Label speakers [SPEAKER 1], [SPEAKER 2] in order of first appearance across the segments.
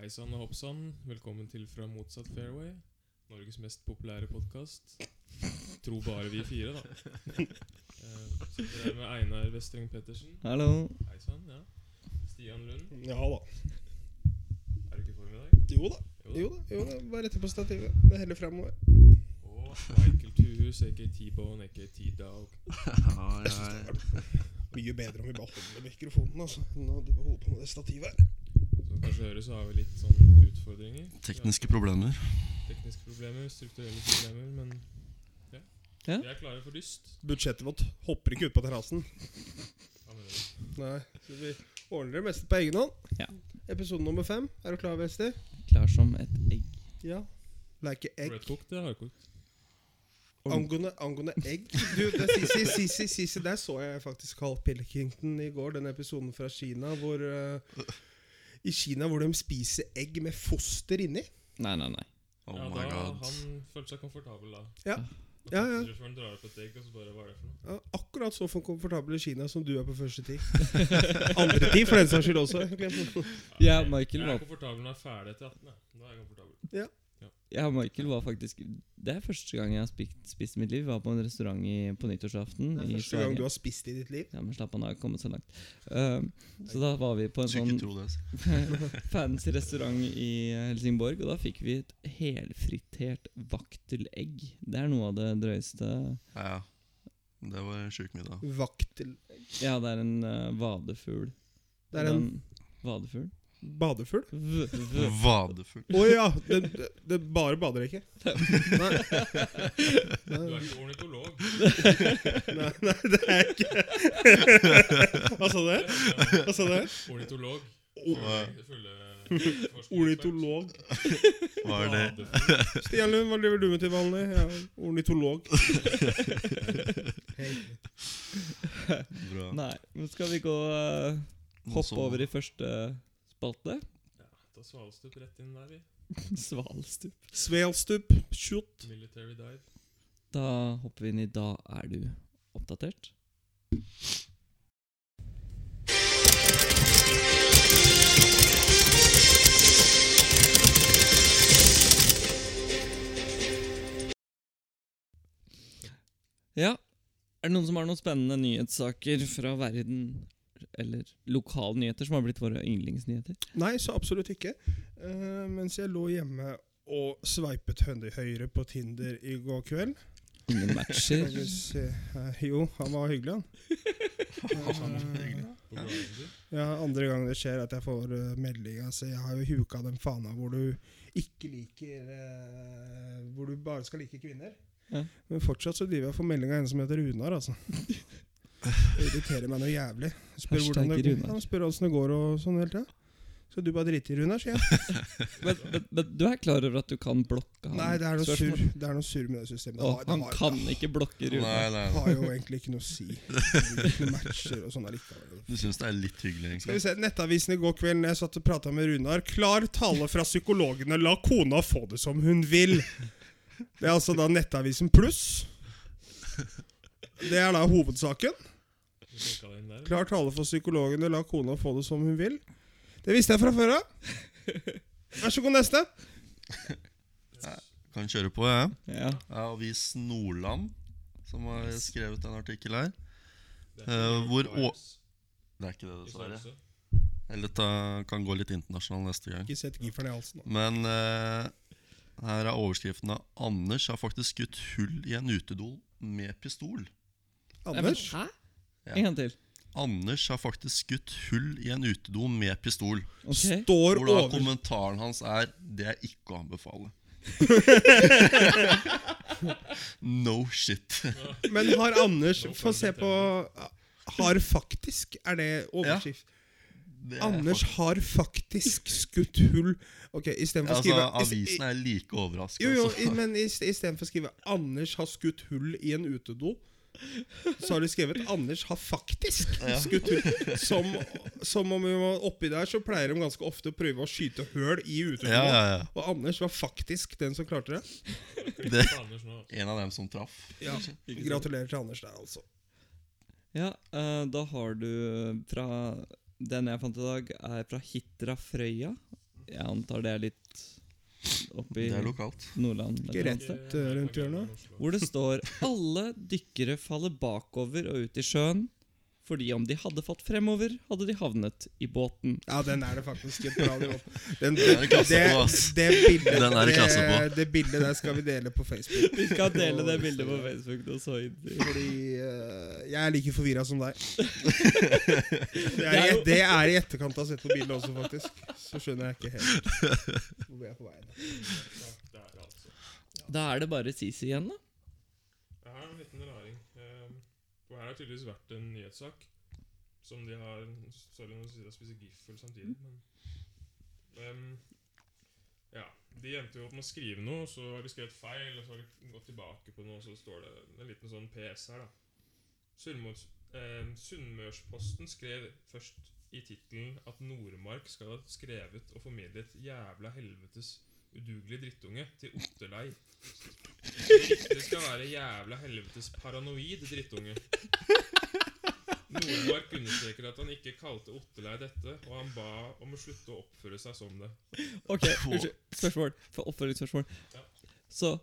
[SPEAKER 1] Heisann og hoppsann, velkommen til Fra motsatt fairway. Norges mest populære podkast. Tror bare vi fire, da. Eh, Sitter her med Einar Vestreng Pettersen.
[SPEAKER 2] Hallo.
[SPEAKER 1] Hei sann. Ja. Stian Lund.
[SPEAKER 3] Ja da.
[SPEAKER 1] Er du ikke i form i dag?
[SPEAKER 3] Jo da.
[SPEAKER 1] Jo da.
[SPEAKER 3] Jo da. jo da. Bare rette på stativet. Det heller fremover.
[SPEAKER 1] Og Michael Tuhus, aka T-Bone, aka T-Dog.
[SPEAKER 4] Ja,
[SPEAKER 3] Jeg synes
[SPEAKER 2] eh,
[SPEAKER 3] det er mye bedre om vi bare holder mikrofonen altså, enn å drive og holde på med det stativet her.
[SPEAKER 1] Som kanskje hører, så har vi litt sånn utfordringer.
[SPEAKER 4] Tekniske problemer.
[SPEAKER 1] Tekniske problemer, strukturelle problemer, men ja.
[SPEAKER 2] Ja.
[SPEAKER 1] Vi er klare for dyst.
[SPEAKER 3] Budsjettet vårt hopper ikke ut på terrassen.
[SPEAKER 1] Hva mener du?
[SPEAKER 3] Nei, så vi ordner det meste på egen hånd.
[SPEAKER 2] Ja.
[SPEAKER 3] Episode nummer fem. Er du klar, Vesti?
[SPEAKER 2] Klar som et egg.
[SPEAKER 3] Ja. Leke egg.
[SPEAKER 1] Redcooked eller hardcooked?
[SPEAKER 3] Angående, angående egg Du, det, Sisi, Sisi, Sisi, Der så jeg faktisk Carl Pilkington i går, den episoden fra Kina hvor eh, I Kina hvor de spiser egg med foster inni.
[SPEAKER 2] Nei, nei, nei.
[SPEAKER 4] Oh
[SPEAKER 1] ja,
[SPEAKER 4] my
[SPEAKER 1] da
[SPEAKER 4] god.
[SPEAKER 1] han følte seg komfortabel da.
[SPEAKER 3] Ja.
[SPEAKER 1] Når
[SPEAKER 3] Ja, ja.
[SPEAKER 1] Taxisjåføren drar opp et egg, og så bare Hva er det for noe?
[SPEAKER 3] Ja, Akkurat så komfortabel i Kina som du er på første ti. Andre ti, for den saks skyld også.
[SPEAKER 2] Ja,
[SPEAKER 1] Jeg
[SPEAKER 2] Michael
[SPEAKER 1] er
[SPEAKER 2] var,
[SPEAKER 1] komfortabel når jeg er ferdig etter 18. Jeg. Da er jeg komfortabel.
[SPEAKER 2] ja, Michael var faktisk Det er første gang jeg har spist, spist i mitt liv. Var på en restaurant i, på nyttårsaften.
[SPEAKER 3] Det er
[SPEAKER 2] i
[SPEAKER 3] første gang
[SPEAKER 2] Sverige.
[SPEAKER 3] du har spist i ditt liv.
[SPEAKER 2] Ja, men slapp av, nå har jeg kommet så langt. Ehm, så da var vi på en sånn
[SPEAKER 4] Skulle ikke tro det. altså.
[SPEAKER 2] fancy restaurant i Helsingborg, og da fikk vi et helfritert vaktelegg. Det er noe av det drøyeste
[SPEAKER 4] Ja, ja. Det var en sjuk middag.
[SPEAKER 3] Vaktel
[SPEAKER 2] Ja, det er en eh, vadefugl.
[SPEAKER 3] Det er en
[SPEAKER 2] Den- Vadefugl?
[SPEAKER 3] badefugl.
[SPEAKER 2] V v
[SPEAKER 4] Vadefugl.
[SPEAKER 3] Å ja! Det, det, det bare bader ikke. Nei.
[SPEAKER 1] Du er
[SPEAKER 3] Nei,
[SPEAKER 1] ikke ornitolog.
[SPEAKER 3] nei, nei, det er jeg ikke Hva sa du? Hva sa du?
[SPEAKER 1] Ornitolog.
[SPEAKER 4] Hva-
[SPEAKER 1] Fulle
[SPEAKER 3] Ornitolog.
[SPEAKER 4] Hva er det?
[SPEAKER 3] Stian Lund, hva driver du med til vanlig? Ja, ornitolog. Hei.
[SPEAKER 4] Bra.
[SPEAKER 2] Nei, nå skal vi gå eh, Hoppe over i første spalte.
[SPEAKER 1] Da svalstup rett inn der, vi.
[SPEAKER 2] Svalstup.
[SPEAKER 3] Svelstup. Shoot.
[SPEAKER 1] Military dive.
[SPEAKER 2] Da hopper vi inn i Da er du oppdatert. Ja, er det noen som har noen spennende nyhetssaker fra verden? Eller lokalnyheter som har blitt våre yndlingsnyheter?
[SPEAKER 3] Nei, så absolutt ikke. Eh, mens jeg lå hjemme og sveipet høy- høyre på Tinder i går kveld
[SPEAKER 2] Ingen
[SPEAKER 3] Skal
[SPEAKER 2] matcher.
[SPEAKER 3] vi se her. eh, Jo, han var hyggelig, han. Eh,
[SPEAKER 1] På Grindr.
[SPEAKER 3] ja, andre gang det skjer at jeg får uh, melding altså, Jeg har jo huka den fana hvor du ikke liker eh, Hvor du bare skal like kvinner.
[SPEAKER 2] Ja.
[SPEAKER 3] Men fortsatt så driver jeg og får melding av en som heter Runar, altså. Det irriterer meg noe jævlig. Spør
[SPEAKER 2] Hashtag
[SPEAKER 3] hvordan det,
[SPEAKER 2] Runar.
[SPEAKER 3] han spør åssen det går og sånn hele tida. Skal du bare drite i Runar, sier jeg.
[SPEAKER 2] Men, men, men du er klar over at du kan blokke han?
[SPEAKER 3] Nei, det er noe
[SPEAKER 2] Spørsmål.
[SPEAKER 3] surr Det er noe surr med det systemet.
[SPEAKER 2] Å,
[SPEAKER 3] Det har-
[SPEAKER 2] han
[SPEAKER 3] det har,
[SPEAKER 2] kan ikke blokke Rune.
[SPEAKER 4] Nei, nei.
[SPEAKER 3] det
[SPEAKER 4] nei.
[SPEAKER 3] har jo egentlig ikke noe å si. Hvilke matcher og sånn allikevel.
[SPEAKER 4] Du syns det er litt hyggelig,
[SPEAKER 3] Skal vi
[SPEAKER 4] egentlig?
[SPEAKER 3] se, Nettavisen i går kveld når jeg satt og prata med Runar. Klar tale fra psykologene. La kona få det som hun vil. Det er altså da Nettavisen pluss. Det er da hovedsaken.
[SPEAKER 1] Du klikka deg inn der.
[SPEAKER 3] Klar tale for psykologene. La kona få det som hun vil. Det visste jeg fra før av. Vær så god, neste.
[SPEAKER 4] Kan kjøre på, jeg. Ja.
[SPEAKER 2] Ja.
[SPEAKER 4] Det er Avis Nordland som har skrevet en artikkel her.
[SPEAKER 1] Det er ikke
[SPEAKER 4] Eh, hvor
[SPEAKER 1] Grindr Vibes
[SPEAKER 4] Det er ikke det,
[SPEAKER 1] i
[SPEAKER 4] dessverre.
[SPEAKER 1] størrelse.
[SPEAKER 4] Eller dette kan gå litt internasjonal neste gang.
[SPEAKER 3] Ikke sett gifferen i halsen. da.
[SPEAKER 4] Men eh, her er overskriften av Anders har faktisk skutt hull i en utedol med pistol.
[SPEAKER 2] Nei, men,
[SPEAKER 3] Anders?
[SPEAKER 2] hæ?
[SPEAKER 4] Ja.
[SPEAKER 2] En gang til.
[SPEAKER 4] Anders har faktisk skutt hull i en utedo med pistol.
[SPEAKER 2] Ok.
[SPEAKER 3] Står
[SPEAKER 4] Hvor da
[SPEAKER 3] over
[SPEAKER 4] kommentaren hans er 'Det er ikke å anbefale'. no shit.
[SPEAKER 3] Men har Anders
[SPEAKER 1] Nå
[SPEAKER 3] Få
[SPEAKER 1] får
[SPEAKER 3] se
[SPEAKER 1] vi
[SPEAKER 3] på Har faktisk Er det overskrift?
[SPEAKER 4] Det er
[SPEAKER 3] Anders
[SPEAKER 4] faktisk-
[SPEAKER 3] har faktisk skutt hull Ok, istedenfor å
[SPEAKER 4] altså,
[SPEAKER 3] skrive i-
[SPEAKER 4] Avisen
[SPEAKER 3] i-
[SPEAKER 4] er like altså. overraska.
[SPEAKER 3] Jo, jo, i- men istedenfor å skrive 'Anders har skutt hull i en utedo', så har de skrevet 'Anders har faktisk skutt hull'. Som, som om vi var oppi der, så pleier de ganske ofte å prøve å skyte høl i utedoen.
[SPEAKER 4] Ja, ja, ja.
[SPEAKER 3] Og Anders var faktisk den som klarte det.
[SPEAKER 4] Det
[SPEAKER 1] Ta Anders nå.
[SPEAKER 4] en av dem som traff.
[SPEAKER 3] Ja, Gratulerer til Anders der, altså.
[SPEAKER 2] Ja, eh, da har du fra Den jeg fant i dag, er fra Hitra Frøya. Jeg antar det er litt oppe i
[SPEAKER 4] Det er lokalt.
[SPEAKER 2] Nordland. et
[SPEAKER 3] Ikke
[SPEAKER 2] eller
[SPEAKER 3] rett
[SPEAKER 2] annet sted.
[SPEAKER 1] Ikke-
[SPEAKER 3] eh, rundt hjørnet.
[SPEAKER 2] Hvor det står 'Alle dykkere faller bakover og ut i sjøen', fordi om de hadde fått fremover, hadde de havnet i båten.
[SPEAKER 3] Ja, den er det faktisk et bra nivå. Den,
[SPEAKER 4] Den er det klasse
[SPEAKER 3] det,
[SPEAKER 4] på, ass.
[SPEAKER 3] det bildet,
[SPEAKER 4] Den er det klasse på.
[SPEAKER 3] det, det bildet der skal vi dele på Facebook.
[SPEAKER 2] Vi skal dele det bildet på Facebook. nå, så inn til-
[SPEAKER 3] Fordi eh, jeg er like forvirra som deg. Det er,
[SPEAKER 2] er
[SPEAKER 3] i-
[SPEAKER 2] jo-
[SPEAKER 3] det er i etterkant av å ha sett på bildet også, faktisk. Så skjønner jeg ikke helt hvor vi er på vei. da.
[SPEAKER 1] Det er det altså.
[SPEAKER 2] Da er det bare Sisi igjen, da.
[SPEAKER 1] Det her er en liten raring. Eh, For her har tydeligvis vært en nyhetssak som de har Sorry når du sier jeg spiser giffel samtidig, men Ehm, Ja. De endte jo opp med å skrive noe, og så har de skrevet feil, og så har de gått tilbake på noe, og så står det en liten sånn PS her, da. Sunnmørs, eh, Sunnmørsposten skrev først i tittelen at Nordmark skal ha skrevet og formidlet 'jævla helvetes udugelig drittunge' til Otterlei. Det skal være jævla helvetes paranoid drittunge. Nordmark understreker at han ikke kalte Otterlei dette, og han ba om å slutte å oppføre seg som det.
[SPEAKER 2] Ok, unnskyld. Spørsmål. For oppfølgingsspørsmål.
[SPEAKER 1] Ja.
[SPEAKER 2] Så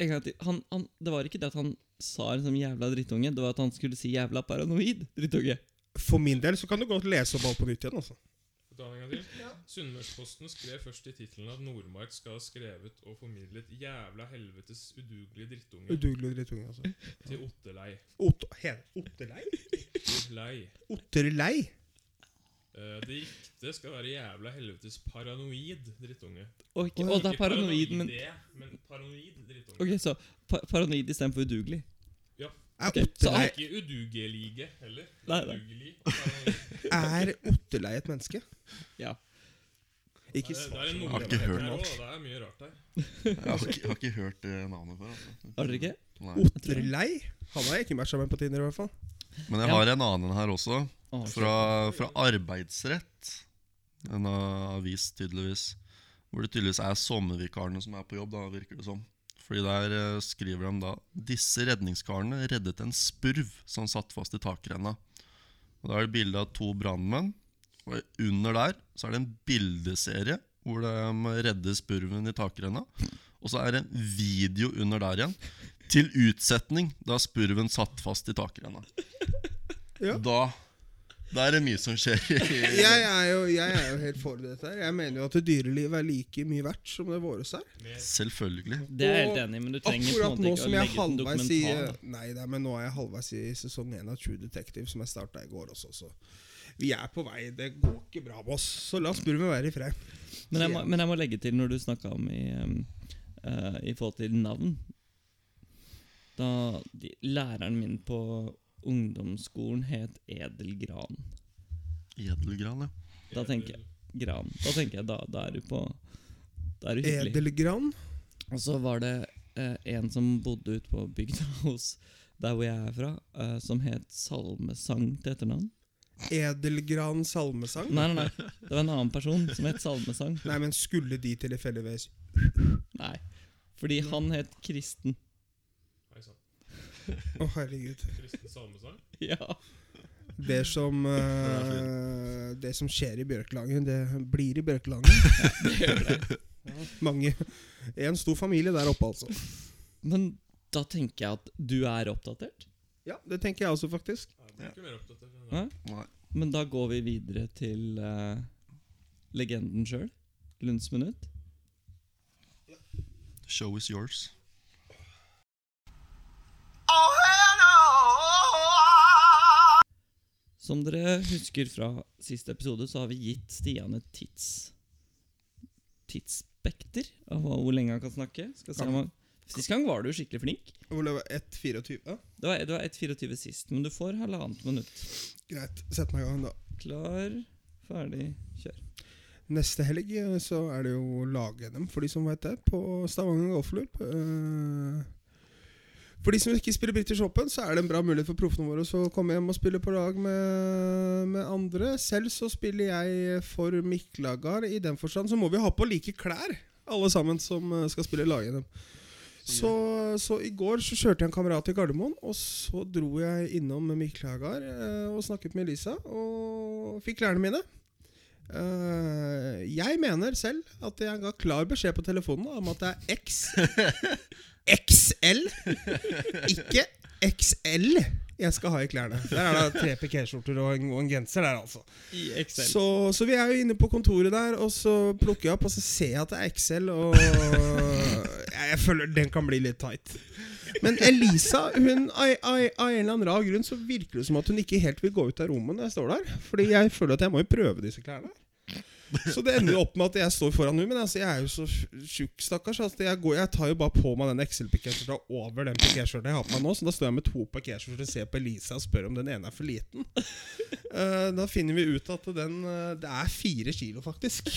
[SPEAKER 2] en gang til. Han, han, det var ikke det at han sa en sånn jævla drittunge, det var at han skulle si jævla paranoid drittunge.
[SPEAKER 3] For min del så kan du godt lese opp alt på nytt igjen. altså.
[SPEAKER 1] Skal vi Ta den en gang til. Sunnmørsposten skrev først i tittelen at Nordmark skal ha skrevet og formidlet 'jævla helvetes udugelige drittunge'
[SPEAKER 3] Udugelig drittunge, altså.
[SPEAKER 1] til Otterlei.
[SPEAKER 3] Ot he- Otterlei?
[SPEAKER 1] Otterlei.
[SPEAKER 3] Otterlei?
[SPEAKER 1] Eh, Det riktige skal være 'jævla helvetes paranoid drittunge'.
[SPEAKER 2] Og, ikke, og det er
[SPEAKER 1] Ikke
[SPEAKER 2] paranoid, men
[SPEAKER 1] paranoide, men paranoid drittunge.
[SPEAKER 2] Ok, så pa paranoid istedenfor udugelig.
[SPEAKER 3] Er
[SPEAKER 2] Ok, så
[SPEAKER 3] Otterlei,
[SPEAKER 1] Ikke udugelige heller.
[SPEAKER 2] Nei, nei.
[SPEAKER 1] Udugelig og paranoid.
[SPEAKER 3] er Otterlei et menneske?
[SPEAKER 2] Ja.
[SPEAKER 3] Ikke
[SPEAKER 1] Det er-
[SPEAKER 3] svar
[SPEAKER 1] det er
[SPEAKER 3] som
[SPEAKER 1] noe-
[SPEAKER 3] om
[SPEAKER 4] Har ikke
[SPEAKER 3] det var
[SPEAKER 4] hørt.
[SPEAKER 1] Her
[SPEAKER 3] helt
[SPEAKER 1] også,
[SPEAKER 3] normalt.
[SPEAKER 1] Det er mye rart her.
[SPEAKER 4] Jeg har ikke, jeg har ikke hørt det navnet før. Altså.
[SPEAKER 2] Har dere ikke?
[SPEAKER 3] Oh.
[SPEAKER 4] Nei.
[SPEAKER 3] Otterlei? Han har jeg ikke matcha med på Tinder, i hvert fall.
[SPEAKER 4] Men jeg har en annen her også.
[SPEAKER 2] Å, ok.
[SPEAKER 4] Fra, fra Arbeidsrett. En uh, avis, tydeligvis. Hvor det tydeligvis er sommervikarene som er på jobb, da, virker det som. Fordi der eh, skriver de da Disse redningskarene reddet en spurv som satt fast i takrenna. Og Da er det bilde av to brannmenn. Og under der så er det en bildeserie hvor de redder spurven i takrenna. Og så er det en video under der igjen. Til utsetning da spurven satt fast i takrenna.
[SPEAKER 3] Ja.
[SPEAKER 4] Da da er det mye som skjer.
[SPEAKER 3] Jeg er jo, jeg er jo helt for dette her. Jeg mener jo at dyreliv er like mye verdt som det våres er.
[SPEAKER 4] Selvfølgelig.
[SPEAKER 2] Det er jeg helt enig i, men du trenger på en
[SPEAKER 3] Akkurat
[SPEAKER 2] måte
[SPEAKER 3] nå
[SPEAKER 2] ikke å
[SPEAKER 3] som
[SPEAKER 2] legge
[SPEAKER 3] jeg
[SPEAKER 2] ut en
[SPEAKER 3] halvveis i
[SPEAKER 2] dokumentar. da.
[SPEAKER 3] Nei da, men nå er jeg halvveis i sesong én av True Detective, som jeg starta i går også, så vi er på vei. Det går ikke bra med oss, så la spurven være i fred.
[SPEAKER 2] Men jeg, må, men jeg må legge til, når du snakka om i, um, eh, i forhold til navn Da de, Læreren min på ungdomsskolen het Edel Gran.
[SPEAKER 4] Edelgran, ja.
[SPEAKER 2] Da tenker jeg Gran. Da tenker jeg da, da er du på Da er du hyggelig.
[SPEAKER 3] Edelgran?
[SPEAKER 2] Og så var det eh, en som bodde ute på bygda hos der hvor jeg er fra, eh, som het Salmesang til etternavn.
[SPEAKER 3] Edelgran salmesang?
[SPEAKER 2] Nei, nei, nei. Det var en annen person som het Salmesang.
[SPEAKER 3] Nei, men skulle de tilfeldigvis
[SPEAKER 2] Nei. Fordi han het Kristen.
[SPEAKER 1] Oi sann.
[SPEAKER 3] Å, herregud.
[SPEAKER 1] Kristen salmesang?
[SPEAKER 2] Ja.
[SPEAKER 3] Det som, eh,
[SPEAKER 4] er
[SPEAKER 3] det som skjer i Bjørkelangen, det blir i Bjørkelangen. Mange. En stor familie der oppe, altså.
[SPEAKER 2] Men da tenker jeg at du er oppdatert.
[SPEAKER 3] Ja, det tenker jeg også, faktisk.
[SPEAKER 1] Jeg blir ikke mer opptatt av
[SPEAKER 2] Hæ?
[SPEAKER 1] det.
[SPEAKER 4] Nei.
[SPEAKER 2] Men da går vi videre til eh, legenden sjøl. Lundsminutt.
[SPEAKER 4] Show is yours.
[SPEAKER 2] Som dere husker fra siste episode, så har vi gitt Stian et tids... tidsspekter av hva- hvor lenge han kan snakke. Skal se om han... Sist gang var du skikkelig flink.
[SPEAKER 3] Hvor det var 1,24.
[SPEAKER 2] Det var, det var 1,24 sist, men du får halvannet minutt.
[SPEAKER 3] Greit, sett meg i gang, da.
[SPEAKER 2] Klar, ferdig, kjør.
[SPEAKER 3] Neste helg eh, så er det jo lag-NM, for de som vet det, på Stavanger Golfklubb. Eh, For de som ikke spiller British Open, så er det en bra mulighet for proffene våre å komme hjem og spille på lag med, med andre. Selv så spiller jeg for Miklagard. I den forstand så må vi ha på like klær, alle sammen som eh, skal spille lag-NM. Så, så i går så kjørte jeg en kamerat til Gardermoen, og så dro jeg innom Miklagard eh, og snakket med Elisa, og fikk klærne mine. Eh, jeg mener selv at jeg ga klar beskjed på telefonen om at det er X XL, ikke XL, jeg skal ha i klærne. Der er det tre pikéskjorter og, en- og en genser der, altså.
[SPEAKER 2] I Excel.
[SPEAKER 3] Så, så vi er jo inne på kontoret der, og så plukker jeg opp, og så ser jeg at det er Excel, og jeg, jeg føler den kan bli litt tight. Men Elisa, hun, ai, ai, ai, en eller annen rar grunn, så virker det som at hun ikke helt vil gå ut av rommet når jeg står der. Fordi jeg føler at jeg må jo prøve disse klærne. Så det ender jo opp med at jeg står foran hun men altså, jeg er jo så tjukk, stakkars. Altså, jeg, går, jeg tar jo bare på meg den XL-pikéskjorta over den pikéskjorta jeg har på meg nå, så da står jeg med to pikéskjorter og ser på Elisa og spør om den ene er for liten. Eh, da finner vi ut at den eh, Det er fire kilo, faktisk.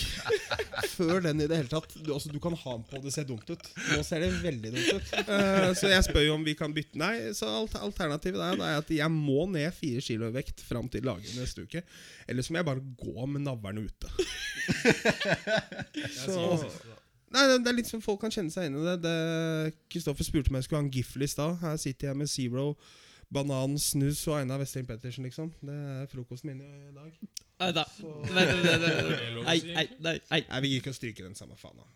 [SPEAKER 3] Før den i det hele tatt. Du, altså, du kan ha den på, det ser dumt ut. Nå ser det veldig dumt ut. Eh, så jeg spør jo om vi kan bytte. Nei, så alt, alternativet der da er at jeg må ned fire kilo i vekt fram til lagring neste uke. Eller så må jeg bare gå med navlene ute. så Nei, det- det er litt som Folk kan kjenne seg inn i det. det. Kristoffer spurte meg om jeg skulle ha en gifle i stad. Her sitter jeg med Zero, banan, snus og Einar Westring Pettersen, liksom. Det er frokosten min i dag.
[SPEAKER 2] Nei da. Nei, nei, nei, nei,
[SPEAKER 1] Det er lov å
[SPEAKER 2] nei,
[SPEAKER 1] si.
[SPEAKER 2] nei, nei, nei.
[SPEAKER 3] Nei, Vi gikk ikke å stryke den samme faen. da.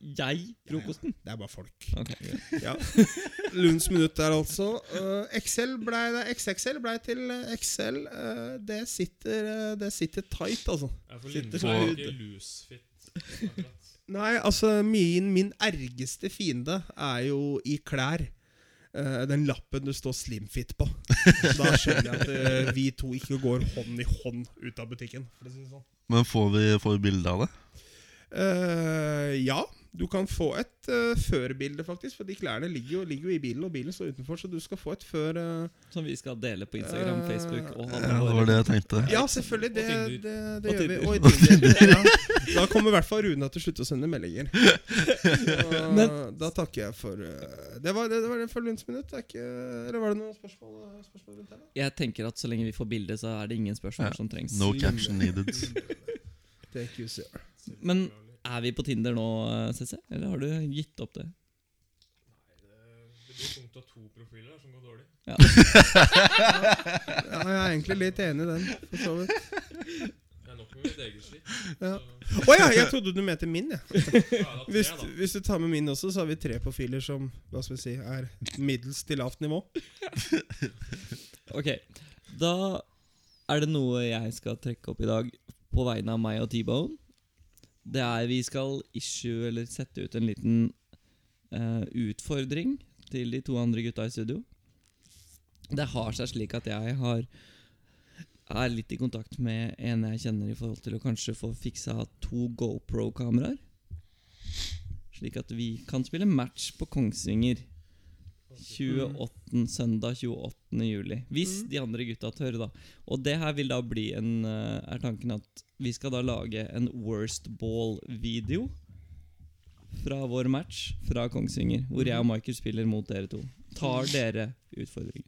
[SPEAKER 2] Jeg? Frokosten?
[SPEAKER 3] Det er bare folk.
[SPEAKER 2] Ok, greit.
[SPEAKER 3] Ja. Lunds minutt der, altså. Eh, XL ble, nei, XXL blei til eh, XL. Eh, det, sitter, eh, det sitter tight, altså.
[SPEAKER 1] Ja, for
[SPEAKER 2] Sitter
[SPEAKER 1] Linde
[SPEAKER 2] på-
[SPEAKER 1] er ikke loose fit. akkurat.
[SPEAKER 3] Nei, altså min, min ergeste fiende er jo i klær. Eh, den lappen du står slimfit på. Da skjønner jeg at eh, vi to ikke går hånd i hånd ut av butikken. For å si det sånn.
[SPEAKER 4] Men får vi får vi bilde av det?
[SPEAKER 3] Eh, ja, du kan få et eh, før-bilde, faktisk. For de klærne ligger jo, ligger jo i bilen, og bilen står utenfor, så du skal få et før. eh,
[SPEAKER 2] Som vi skal dele på Instagram,
[SPEAKER 3] Eh,
[SPEAKER 2] Facebook og alle
[SPEAKER 4] Ja, det var
[SPEAKER 2] våre
[SPEAKER 4] det jeg tenkte.
[SPEAKER 3] Ja, selvfølgelig. Det,
[SPEAKER 1] Tinder.
[SPEAKER 3] det, det
[SPEAKER 2] Og
[SPEAKER 3] gjør vi.
[SPEAKER 2] Tinder.
[SPEAKER 3] Og i Tinder. Ja. Da kommer i hvert fall Rune til å slutte å sende meldinger. Så,
[SPEAKER 2] Men-
[SPEAKER 3] da takker jeg for eh, Det var det, det, var det for Lunds minutt. Det er ikke, eller var det noen spørsmål, eh, spørsmål rundt det?
[SPEAKER 2] Jeg tenker at så lenge vi får bilde, så er det ingen spørsmål
[SPEAKER 4] Ja.
[SPEAKER 2] som trengs.
[SPEAKER 4] No caption needed.
[SPEAKER 3] Take you, sir.
[SPEAKER 2] Men er vi på Tinder nå, eh, CC? Eller har du gitt opp det?
[SPEAKER 1] Det blir punkt av to profiler som går dårlig.
[SPEAKER 3] Ja, jeg er egentlig litt enig i den. For så vidt.
[SPEAKER 1] Det er nok med mitt eget slipp.
[SPEAKER 3] Ja.
[SPEAKER 1] så-
[SPEAKER 3] Å ja, jeg trodde du mente min. jeg.
[SPEAKER 1] Ja, da, tre,
[SPEAKER 3] Hvis,
[SPEAKER 1] da.
[SPEAKER 3] hvis du tar med min også, så har vi tre profiler som hva skal vi si, er middels til lavt nivå.
[SPEAKER 2] Ok, da er det noe jeg skal trekke opp i dag på vegne av meg og T-Bone. Det er vi skal issue, eller sette ut en liten eh, utfordring til de to andre gutta i studio. Det har seg slik at jeg har er litt i kontakt med en jeg kjenner i forhold til å kanskje få fiksa to GoPro-kameraer. Slik at vi kan spille match på Kongsvinger 28, søndag 28. juli. Hvis de andre gutta tør, da. Og det her vil da bli en eh, Er tanken at vi skal da lage en worst ball-video fra vår match fra Kongsvinger, hvor jeg og Michael spiller mot dere to. Tar dere utfordringen?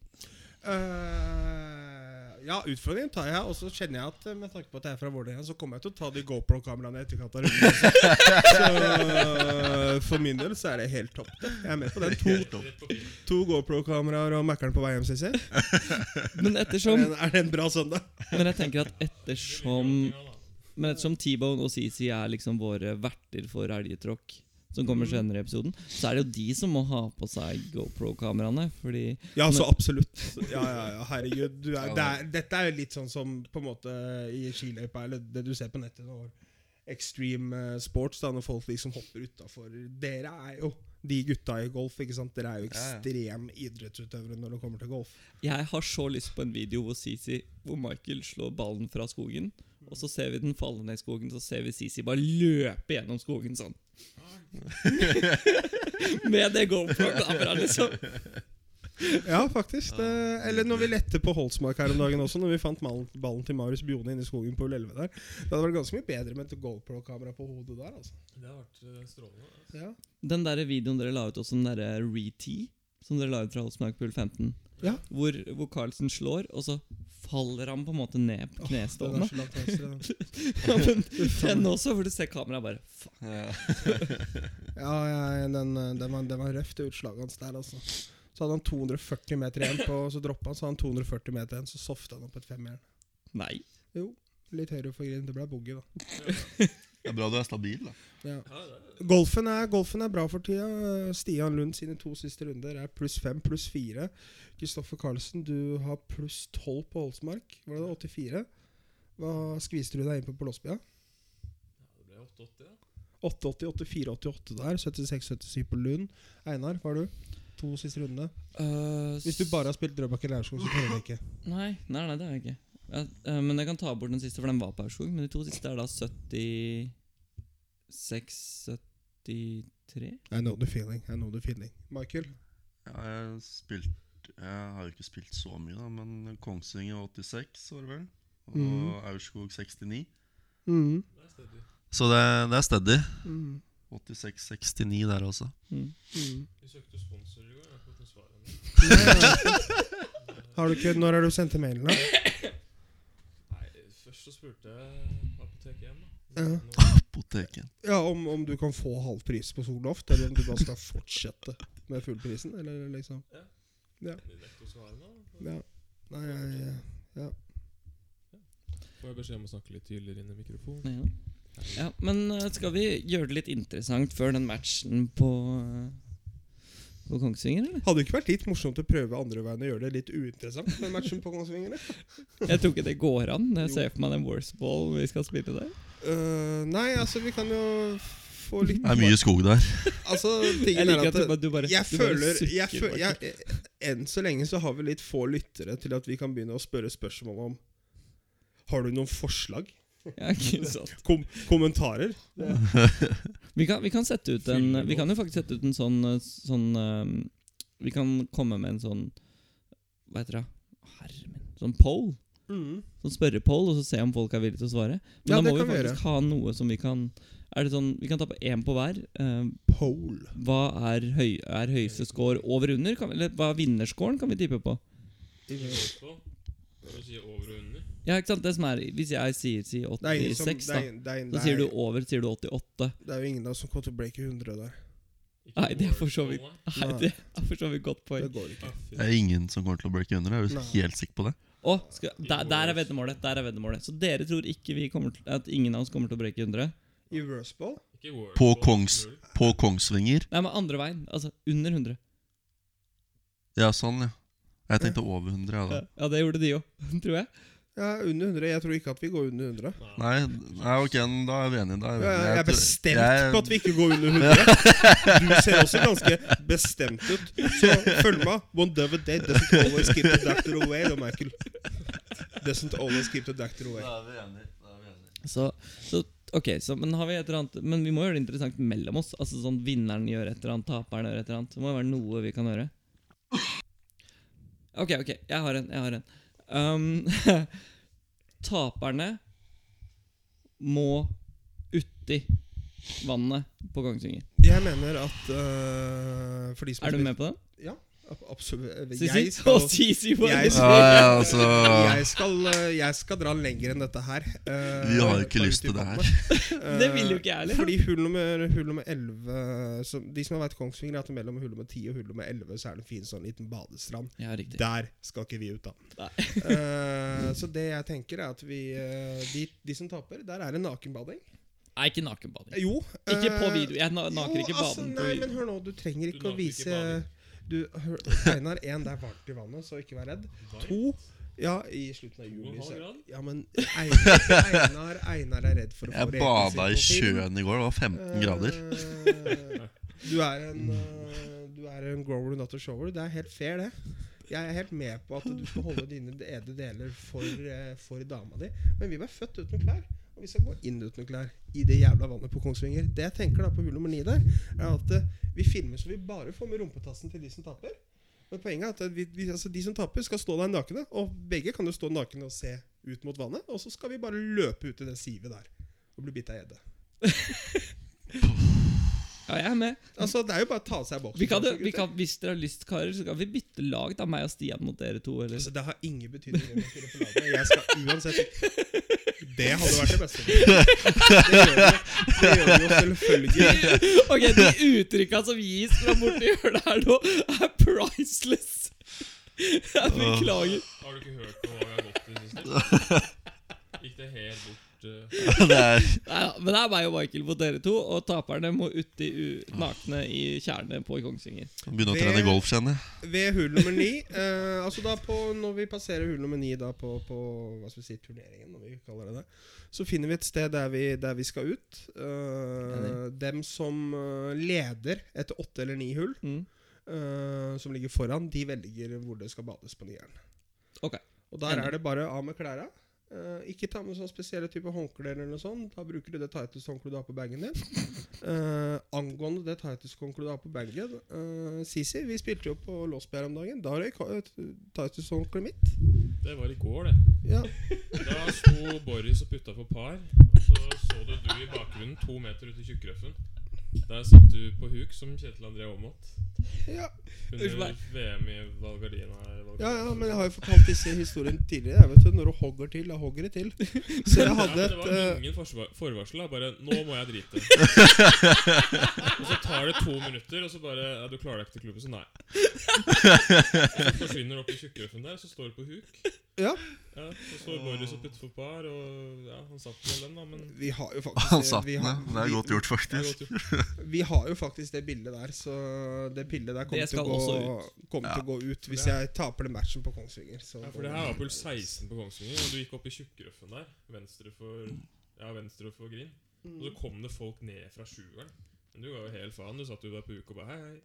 [SPEAKER 3] Eh, ja, utfordringen tar jeg. Og så kjenner jeg at eh, med tanke på at jeg er fra Vålerenga, så kommer jeg til å ta de GoPro-kameraene i etterkant av runden. Så eh, for min del så er det helt topp. det. Jeg er med på den. To,
[SPEAKER 1] Rett på bilen.
[SPEAKER 3] to GoPro-kameraer og Mækkern på vei hjem, CC. Er
[SPEAKER 2] Men ettersom
[SPEAKER 3] det en- Er det en bra søndag?
[SPEAKER 2] Men jeg tenker at ettersom
[SPEAKER 1] Ja, da.
[SPEAKER 2] Men ettersom T-Bone og CC er liksom våre verter for elgetråkk, som kommer senere i episoden, så er det jo de som må ha på seg GoPro-kameraene. Fordi
[SPEAKER 3] Ja, så absolutt. Ja, ja, ja, herregud. Du er, det er, dette er jo litt sånn som på en måte i skiløypa, eller det du ser på nettet nå. Extreme eh, sports, da, når folk liksom hopper utafor. Dere er jo de gutta i golf. ikke sant? Dere er jo
[SPEAKER 4] Ja, ja.
[SPEAKER 3] ekstrem idrettsutøvere når det kommer til golf.
[SPEAKER 2] jeg har så lyst på en video hvor CC Hvor Michael slår ballen fra skogen, og så ser vi den falle ned i skogen, så ser vi CC bare løpe gjennom skogen sånn. Med det GoPro-kameraet, liksom.
[SPEAKER 3] Ja, faktisk. Det, eller når vi lette på Holsmark her om dagen også, når vi fant mal- ballen til Marius Bjone inne i skogen på Ull 11 der. Det hadde vært ganske mye bedre med et GoPro-kamera på hodet der, altså.
[SPEAKER 1] Det har vært eh, strålende. da.
[SPEAKER 3] Ja,
[SPEAKER 2] Den der videoen dere la ut også, den derre re-tee, som dere la ut fra Holsmark Pool 15,
[SPEAKER 3] Ja.
[SPEAKER 2] hvor, hvor Carlsen slår, og så faller han på en måte ned på
[SPEAKER 3] det er
[SPEAKER 2] knestående.
[SPEAKER 3] så langt venstre, Sånn, da.
[SPEAKER 2] Ja, men den også, hvor du ser kameraet bare Faen.
[SPEAKER 4] Ja.
[SPEAKER 3] Ja, ja den, eh, den, var, den var røff, det utslaget hans der, altså. Så hadde han 240 meter igjen, på, så droppa han, så hadde han 240 meter igjen, så softa han opp et femmeren.
[SPEAKER 2] Nei.
[SPEAKER 3] Jo. Litt høyere for grinen. Det ble boogie, da.
[SPEAKER 4] Det er bra du er stabil, da.
[SPEAKER 3] Ja.
[SPEAKER 1] Ja, det er-
[SPEAKER 3] Golfen er, golfen er bra for tida. Stian Lund sine to siste runder er pluss fem, pluss fire. Kristoffer Carlsen, du har pluss tolv på Holsmark. Var det 84? Hva skviste du deg inn på på Låsbya?
[SPEAKER 1] ja, det ble 880, da.
[SPEAKER 3] 888, 488 der. 76, 77 på Lund. Einar, hva har du? To siste rundene.
[SPEAKER 2] Eh,
[SPEAKER 3] Hvis du bare har spilt Drøbak eller Aurskog, så teller det ikke.
[SPEAKER 2] Nei, nei, nei, det har jeg ikke. Ja, eh, men jeg kan ta bort den siste, for den var på Aurskog. Men de to siste er da 76 73?
[SPEAKER 3] I know the feeling. I know the feeling. Michael?
[SPEAKER 4] Ja, jeg, har spilt, jeg har jo ikke spilt så mye, da, men Kongsvinger 86 var det vel. Og
[SPEAKER 3] Mhm.
[SPEAKER 4] Aurskog 69.
[SPEAKER 3] Mm.
[SPEAKER 1] Det er steady.
[SPEAKER 4] Så det, det er steady.
[SPEAKER 3] Mm.
[SPEAKER 4] 86-69 der også.
[SPEAKER 2] Mm.
[SPEAKER 3] Mm.
[SPEAKER 1] Vi søkte sponsor i går. Jeg har ikke fått noe svar ennå.
[SPEAKER 3] Har du ikke, når har du sendt mailen, da?
[SPEAKER 1] Nei, først så spurte jeg Apotek 1, da.
[SPEAKER 3] Ja.
[SPEAKER 1] Nå-
[SPEAKER 4] Apoteken.
[SPEAKER 3] Ja, om, om du kan få halv pris på Solloft, eller om du bare skal fortsette med fullprisen, eller liksom
[SPEAKER 1] Vi nekter å svare nå.
[SPEAKER 3] Ja. Nei, jeg, jeg-
[SPEAKER 1] Får jeg beskjed om å snakke litt tydeligere inn i mikrofonen?
[SPEAKER 2] Ja. ja, men eh, skal vi gjøre det litt interessant før den matchen på eh, På Kongsvinger, eller?
[SPEAKER 3] Hadde det ikke vært litt morsomt å prøve andre veien og gjøre det litt uinteressant med matchen på Kongsvinger? eller?
[SPEAKER 2] Jeg tror ikke det går an. Jeg ser for meg den worst ball vi skal spille der.
[SPEAKER 3] Øh, nei, altså, vi kan jo få litt
[SPEAKER 4] Det er mye skog der.
[SPEAKER 3] Altså,
[SPEAKER 2] Jeg
[SPEAKER 3] tingen er
[SPEAKER 2] liker
[SPEAKER 3] at
[SPEAKER 2] at du bare, du bare,
[SPEAKER 3] jeg
[SPEAKER 2] du bare
[SPEAKER 3] føler, jeg
[SPEAKER 2] sukker
[SPEAKER 3] føler
[SPEAKER 2] bak
[SPEAKER 3] jeg, eh, Enn så lenge så har vi litt få lyttere til at vi kan begynne å spørre spørsmål om Har du noen forslag?
[SPEAKER 2] det. Ja, ikke sant.
[SPEAKER 3] Kom kommentarer?
[SPEAKER 2] Vi kan, vi kan sette ut en Vi kan jo faktisk sette ut en sånn, eh, sånn eh, Vi kan komme med en sånn Hva heter det? Herre min. Sånn poll. Sånn spørrepoll, og så se om folk er villige til å svare. Men
[SPEAKER 3] Ja,
[SPEAKER 2] da
[SPEAKER 3] det
[SPEAKER 2] må vi
[SPEAKER 3] kan vi gjøre.
[SPEAKER 2] faktisk ha noe som vi kan Er det sånn Vi kan ta på én på hver. eh,
[SPEAKER 3] Poll.
[SPEAKER 2] hva er, høy, er høyeste score over og under? Kan, vi- eller hva er vinnerscoren, kan vi tippe på?
[SPEAKER 1] Ikke lov på. Skal vi si over og under?
[SPEAKER 2] Ja, ikke sant? Det som er Hvis jeg sier, sier
[SPEAKER 3] Det er ingen som
[SPEAKER 2] 86, da,
[SPEAKER 3] det er, ingen- det, er, ingen-
[SPEAKER 2] så sier
[SPEAKER 3] det,
[SPEAKER 2] du over, sier du 88.
[SPEAKER 3] er, det er jo ingen av oss som kommer til å breake 100 der.
[SPEAKER 1] Ikke
[SPEAKER 2] Nei, det er for
[SPEAKER 1] over-
[SPEAKER 2] så vidt-
[SPEAKER 1] Å, nei.
[SPEAKER 2] Nei,
[SPEAKER 3] Nei.
[SPEAKER 2] det er for så vidt godt poeng.
[SPEAKER 3] Det går ikke.
[SPEAKER 1] Ah, fy.
[SPEAKER 4] Det er ingen som kommer til å breake under. Jeg er jo
[SPEAKER 3] Nei.
[SPEAKER 4] helt sikker på det.
[SPEAKER 2] Å, skal, der, der er veddemålet. Der er veddemålet. Så dere tror ikke vi kommer til, at ingen av oss kommer til å brekke 100?
[SPEAKER 3] I Røsball?
[SPEAKER 1] Ikke World
[SPEAKER 4] På
[SPEAKER 1] Cup,
[SPEAKER 4] Kongs-
[SPEAKER 1] null.
[SPEAKER 4] På Kongsvinger.
[SPEAKER 2] Nei, men andre veien. Altså under 100.
[SPEAKER 4] Ja, sånn, ja. Jeg tenkte over 100, jeg,
[SPEAKER 2] Ja,
[SPEAKER 4] da.
[SPEAKER 2] ja det gjorde de òg, tror jeg.
[SPEAKER 3] Ja, under 100. Jeg tror ikke at vi går under 100.
[SPEAKER 1] Nei.
[SPEAKER 4] Nei, nei, ok, da er vi enige. Da er vi
[SPEAKER 3] Ja,
[SPEAKER 4] enige.
[SPEAKER 3] jeg er
[SPEAKER 4] tror-
[SPEAKER 3] bestemt
[SPEAKER 4] jeg-
[SPEAKER 3] på at vi ikke går under 100. Du ser også ganske bestemt ut. Så følg med. One dove a day doesn't always keep the doctor away, da, Michael. Doesn't always keep the doctor away.
[SPEAKER 4] Da er vi enige. Da er vi enige.
[SPEAKER 2] Så, så ok, så, men har vi et eller annet Men vi må gjøre det interessant mellom oss. Altså sånn Vinneren gjør et eller annet, taperen gjør et eller annet. Det må jo være noe vi kan gjøre. Ok, ok, jeg har en. Jeg har en. Um, taperne må uti vannet på Kongsvinger.
[SPEAKER 3] Jeg mener at øh, for de som
[SPEAKER 2] Er du med på den?
[SPEAKER 3] Absolutt. eh,
[SPEAKER 2] Sisi?
[SPEAKER 3] Jeg skal,
[SPEAKER 2] Å, Sisi var
[SPEAKER 3] jeg
[SPEAKER 4] Ja, ja, altså
[SPEAKER 3] jeg, skal, øh, jeg skal dra lenger enn dette her. øh,
[SPEAKER 4] Vi har ikke
[SPEAKER 3] på
[SPEAKER 4] lyst til det her.
[SPEAKER 3] YouTube-kanalen.
[SPEAKER 2] Det vil jo ikke jeg heller.
[SPEAKER 3] Eh, Fordi hull nummer, hull nummer 11 som, De som har vært Kongsvinger, er at mellom hull nummer 10 og hull nummer 11 så er det en fin sånn liten badestrand.
[SPEAKER 2] Ja, riktig.
[SPEAKER 3] Der skal ikke vi ut, da.
[SPEAKER 2] Nei.
[SPEAKER 3] Eh, så det jeg tenker, er at vi eh, de, de som taper, der er det nakenbading.
[SPEAKER 2] Nei, ikke nakenbading.
[SPEAKER 3] Eh, Jo.
[SPEAKER 2] Ikke på
[SPEAKER 3] eh,
[SPEAKER 2] video. Jeg na naker
[SPEAKER 3] jo,
[SPEAKER 2] ikke
[SPEAKER 3] altså,
[SPEAKER 2] baden på
[SPEAKER 3] Nei,
[SPEAKER 2] video.
[SPEAKER 3] men hør nå, du trenger
[SPEAKER 1] Du
[SPEAKER 3] ikke
[SPEAKER 1] naker
[SPEAKER 3] å
[SPEAKER 1] ikke
[SPEAKER 3] vise
[SPEAKER 1] bading.
[SPEAKER 3] du, hør, Einar, én, det er varmt i vannet, så ikke vær redd.
[SPEAKER 1] Varmt?
[SPEAKER 3] To Ja, i slutten av juli.
[SPEAKER 1] Hvor
[SPEAKER 3] så-
[SPEAKER 1] har vi han?
[SPEAKER 3] Ja, men Einar, Einar, Einar er redd for å få
[SPEAKER 4] Jeg
[SPEAKER 3] reden sin
[SPEAKER 4] bada i
[SPEAKER 3] på film.
[SPEAKER 4] sjøen i går. Det var 15 grader.
[SPEAKER 3] Eh, Du er en eh, Du er en grower not a shower. Det er helt fair, det. Jeg er helt med på at du skal holde dine edle deler for, eh, for dama di, men vi ble født uten klær. Og vi skal gå inn uten klær i det jævla vannet på Kongsvinger. Det jeg tenker da på hull nummer ni der, er at eh, vi filmer så vi bare får med rumpetassen til de som taper. Men poenget er at vi, vi, altså, de som taper, skal stå der nakne. Og begge kan jo stå nakne og se ut mot vannet. Og så skal vi bare løpe ut i det sivet der og bli bitt av gjedde.
[SPEAKER 2] Ja, jeg er med.
[SPEAKER 3] Altså, det er jo bare å ta av seg boksen.
[SPEAKER 2] Vi kan,
[SPEAKER 3] altså,
[SPEAKER 2] vi
[SPEAKER 3] gutter.
[SPEAKER 2] kan, hvis dere har lyst, karer, så kan vi bytte lag. Da meg og Stian mot dere to. Eller?
[SPEAKER 3] Altså, det har ingen betydning hvem jeg spiller på laget. Jeg skal uansett Det hadde vært det beste. Det gjør det, jo- det, gjør det jo selvfølgelig.
[SPEAKER 2] Ok, De uttrykka som gis fra borti hjørnet her nå, er priceless! Jeg beklager.
[SPEAKER 1] Har du ikke hørt på hva jeg har gått i det siste? Gikk ikke helt bort eh,
[SPEAKER 4] Det er,
[SPEAKER 2] Neida, men det er meg og Michael mot dere to, og taperne må uti u- nakne i tjernet på Kongsvinger.
[SPEAKER 4] Begynne å
[SPEAKER 3] Det-
[SPEAKER 4] trene golf, kjenner jeg.
[SPEAKER 3] Ved hull nummer ni eh, Altså da på Når vi passerer hull nummer ni da på, på hva skal vi si, turneringen, når vi kaller det det, så finner vi et sted der vi, der vi skal ut. Eh, dem som eh, leder etter åtte eller ni hull,
[SPEAKER 2] Mm.
[SPEAKER 3] eh, som ligger foran, de velger hvor det skal bades på nieren.
[SPEAKER 2] Ok.
[SPEAKER 3] Og der
[SPEAKER 2] Enig.
[SPEAKER 3] er det bare av med klærne. Eh, ikke ta med sånn spesielle type håndklær. eller noe sånt. Da bruker du det tightest-håndkleet du har på bagen din. Eh, angående det tightest-håndkleet du har på bagen eh, Sisi, vi spilte jo på Låsberg om dagen. Da røyk eh, tightest-håndkleet mitt.
[SPEAKER 1] Det var i går, det.
[SPEAKER 3] Ja.
[SPEAKER 1] Da sto Boris og putta på par, og så så du du i bakgrunnen to meter ut i tjukkrøffen. Der satt du på huk som Kjetil André Aamodt
[SPEAKER 3] Ja.
[SPEAKER 2] Unnskyld
[SPEAKER 1] under
[SPEAKER 2] meg.
[SPEAKER 1] VM i Valgardina. Valgardina.
[SPEAKER 3] ja, ja, men jeg har jo fortalt disse historiene tidligere. Jeg vet jo, Når du hogger til, da hogger det til. Så jeg hadde
[SPEAKER 1] ja, men
[SPEAKER 3] et
[SPEAKER 1] Det
[SPEAKER 3] eh,
[SPEAKER 1] var ingen forsvar- forvarsel. da, Bare 'Nå må jeg drite'. og så tar det to minutter, og så bare ja, 'Du klarer deg ikke til klubben', så nei. Så forsvinner du opp i tjukkrøffen der, så står du på huk.
[SPEAKER 3] Ja.
[SPEAKER 1] Ja, så står Boris og putter på par, og ja, han satt vel den, da, men
[SPEAKER 3] eh, Vi har jo faktisk
[SPEAKER 4] Han satt
[SPEAKER 3] vi
[SPEAKER 4] ned.
[SPEAKER 3] har,
[SPEAKER 4] Det er
[SPEAKER 3] vi-
[SPEAKER 4] godt gjort,
[SPEAKER 1] det er
[SPEAKER 4] faktisk.
[SPEAKER 1] godt gjort.
[SPEAKER 3] Vi har jo faktisk det bildet der, så det bildet der kommer,
[SPEAKER 2] Det
[SPEAKER 3] til å,
[SPEAKER 2] skal
[SPEAKER 3] gå,
[SPEAKER 2] også
[SPEAKER 3] kommer til å gå ut hvis
[SPEAKER 1] Det
[SPEAKER 3] jeg taper den matchen på Kongsvinger. Så
[SPEAKER 1] Ja, for det her var puls 16 på Kongsvinger, og du gikk opp i tjukkrøffen der. Venstre for Ja, venstre for Green. Og så kom det folk ned fra sjueren. Men du var jo helt faen. Du satt jo der på uka og bare hei, hei.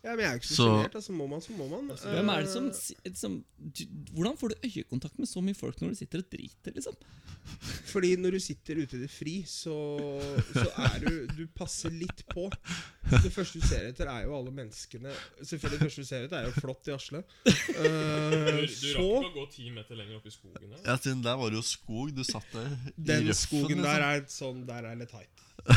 [SPEAKER 3] Ja, men jeg er jo ikke så
[SPEAKER 4] Så-
[SPEAKER 3] sjenert. Altså, må man, så må man.
[SPEAKER 2] Hvem er det som,
[SPEAKER 3] Eh,
[SPEAKER 2] si- som du, Hvordan får du øyekontakt med så mye folk når du sitter og driter, liksom?
[SPEAKER 3] Fordi når du sitter ute i det fri, så, så er du Du passer litt på. Det første du ser etter, er jo alle menneskene Selvfølgelig det første du ser etter, er jo flott i Asle.
[SPEAKER 1] Du,
[SPEAKER 3] Eh,
[SPEAKER 1] du rakk
[SPEAKER 3] så
[SPEAKER 1] ikke å gå ti meter lenger opp i skogen der.
[SPEAKER 4] Ja, siden der var det jo skog. Du satt der i
[SPEAKER 3] den
[SPEAKER 4] røffen.
[SPEAKER 3] skogen der
[SPEAKER 4] liksom.
[SPEAKER 3] er sånn Der er litt tight. Så-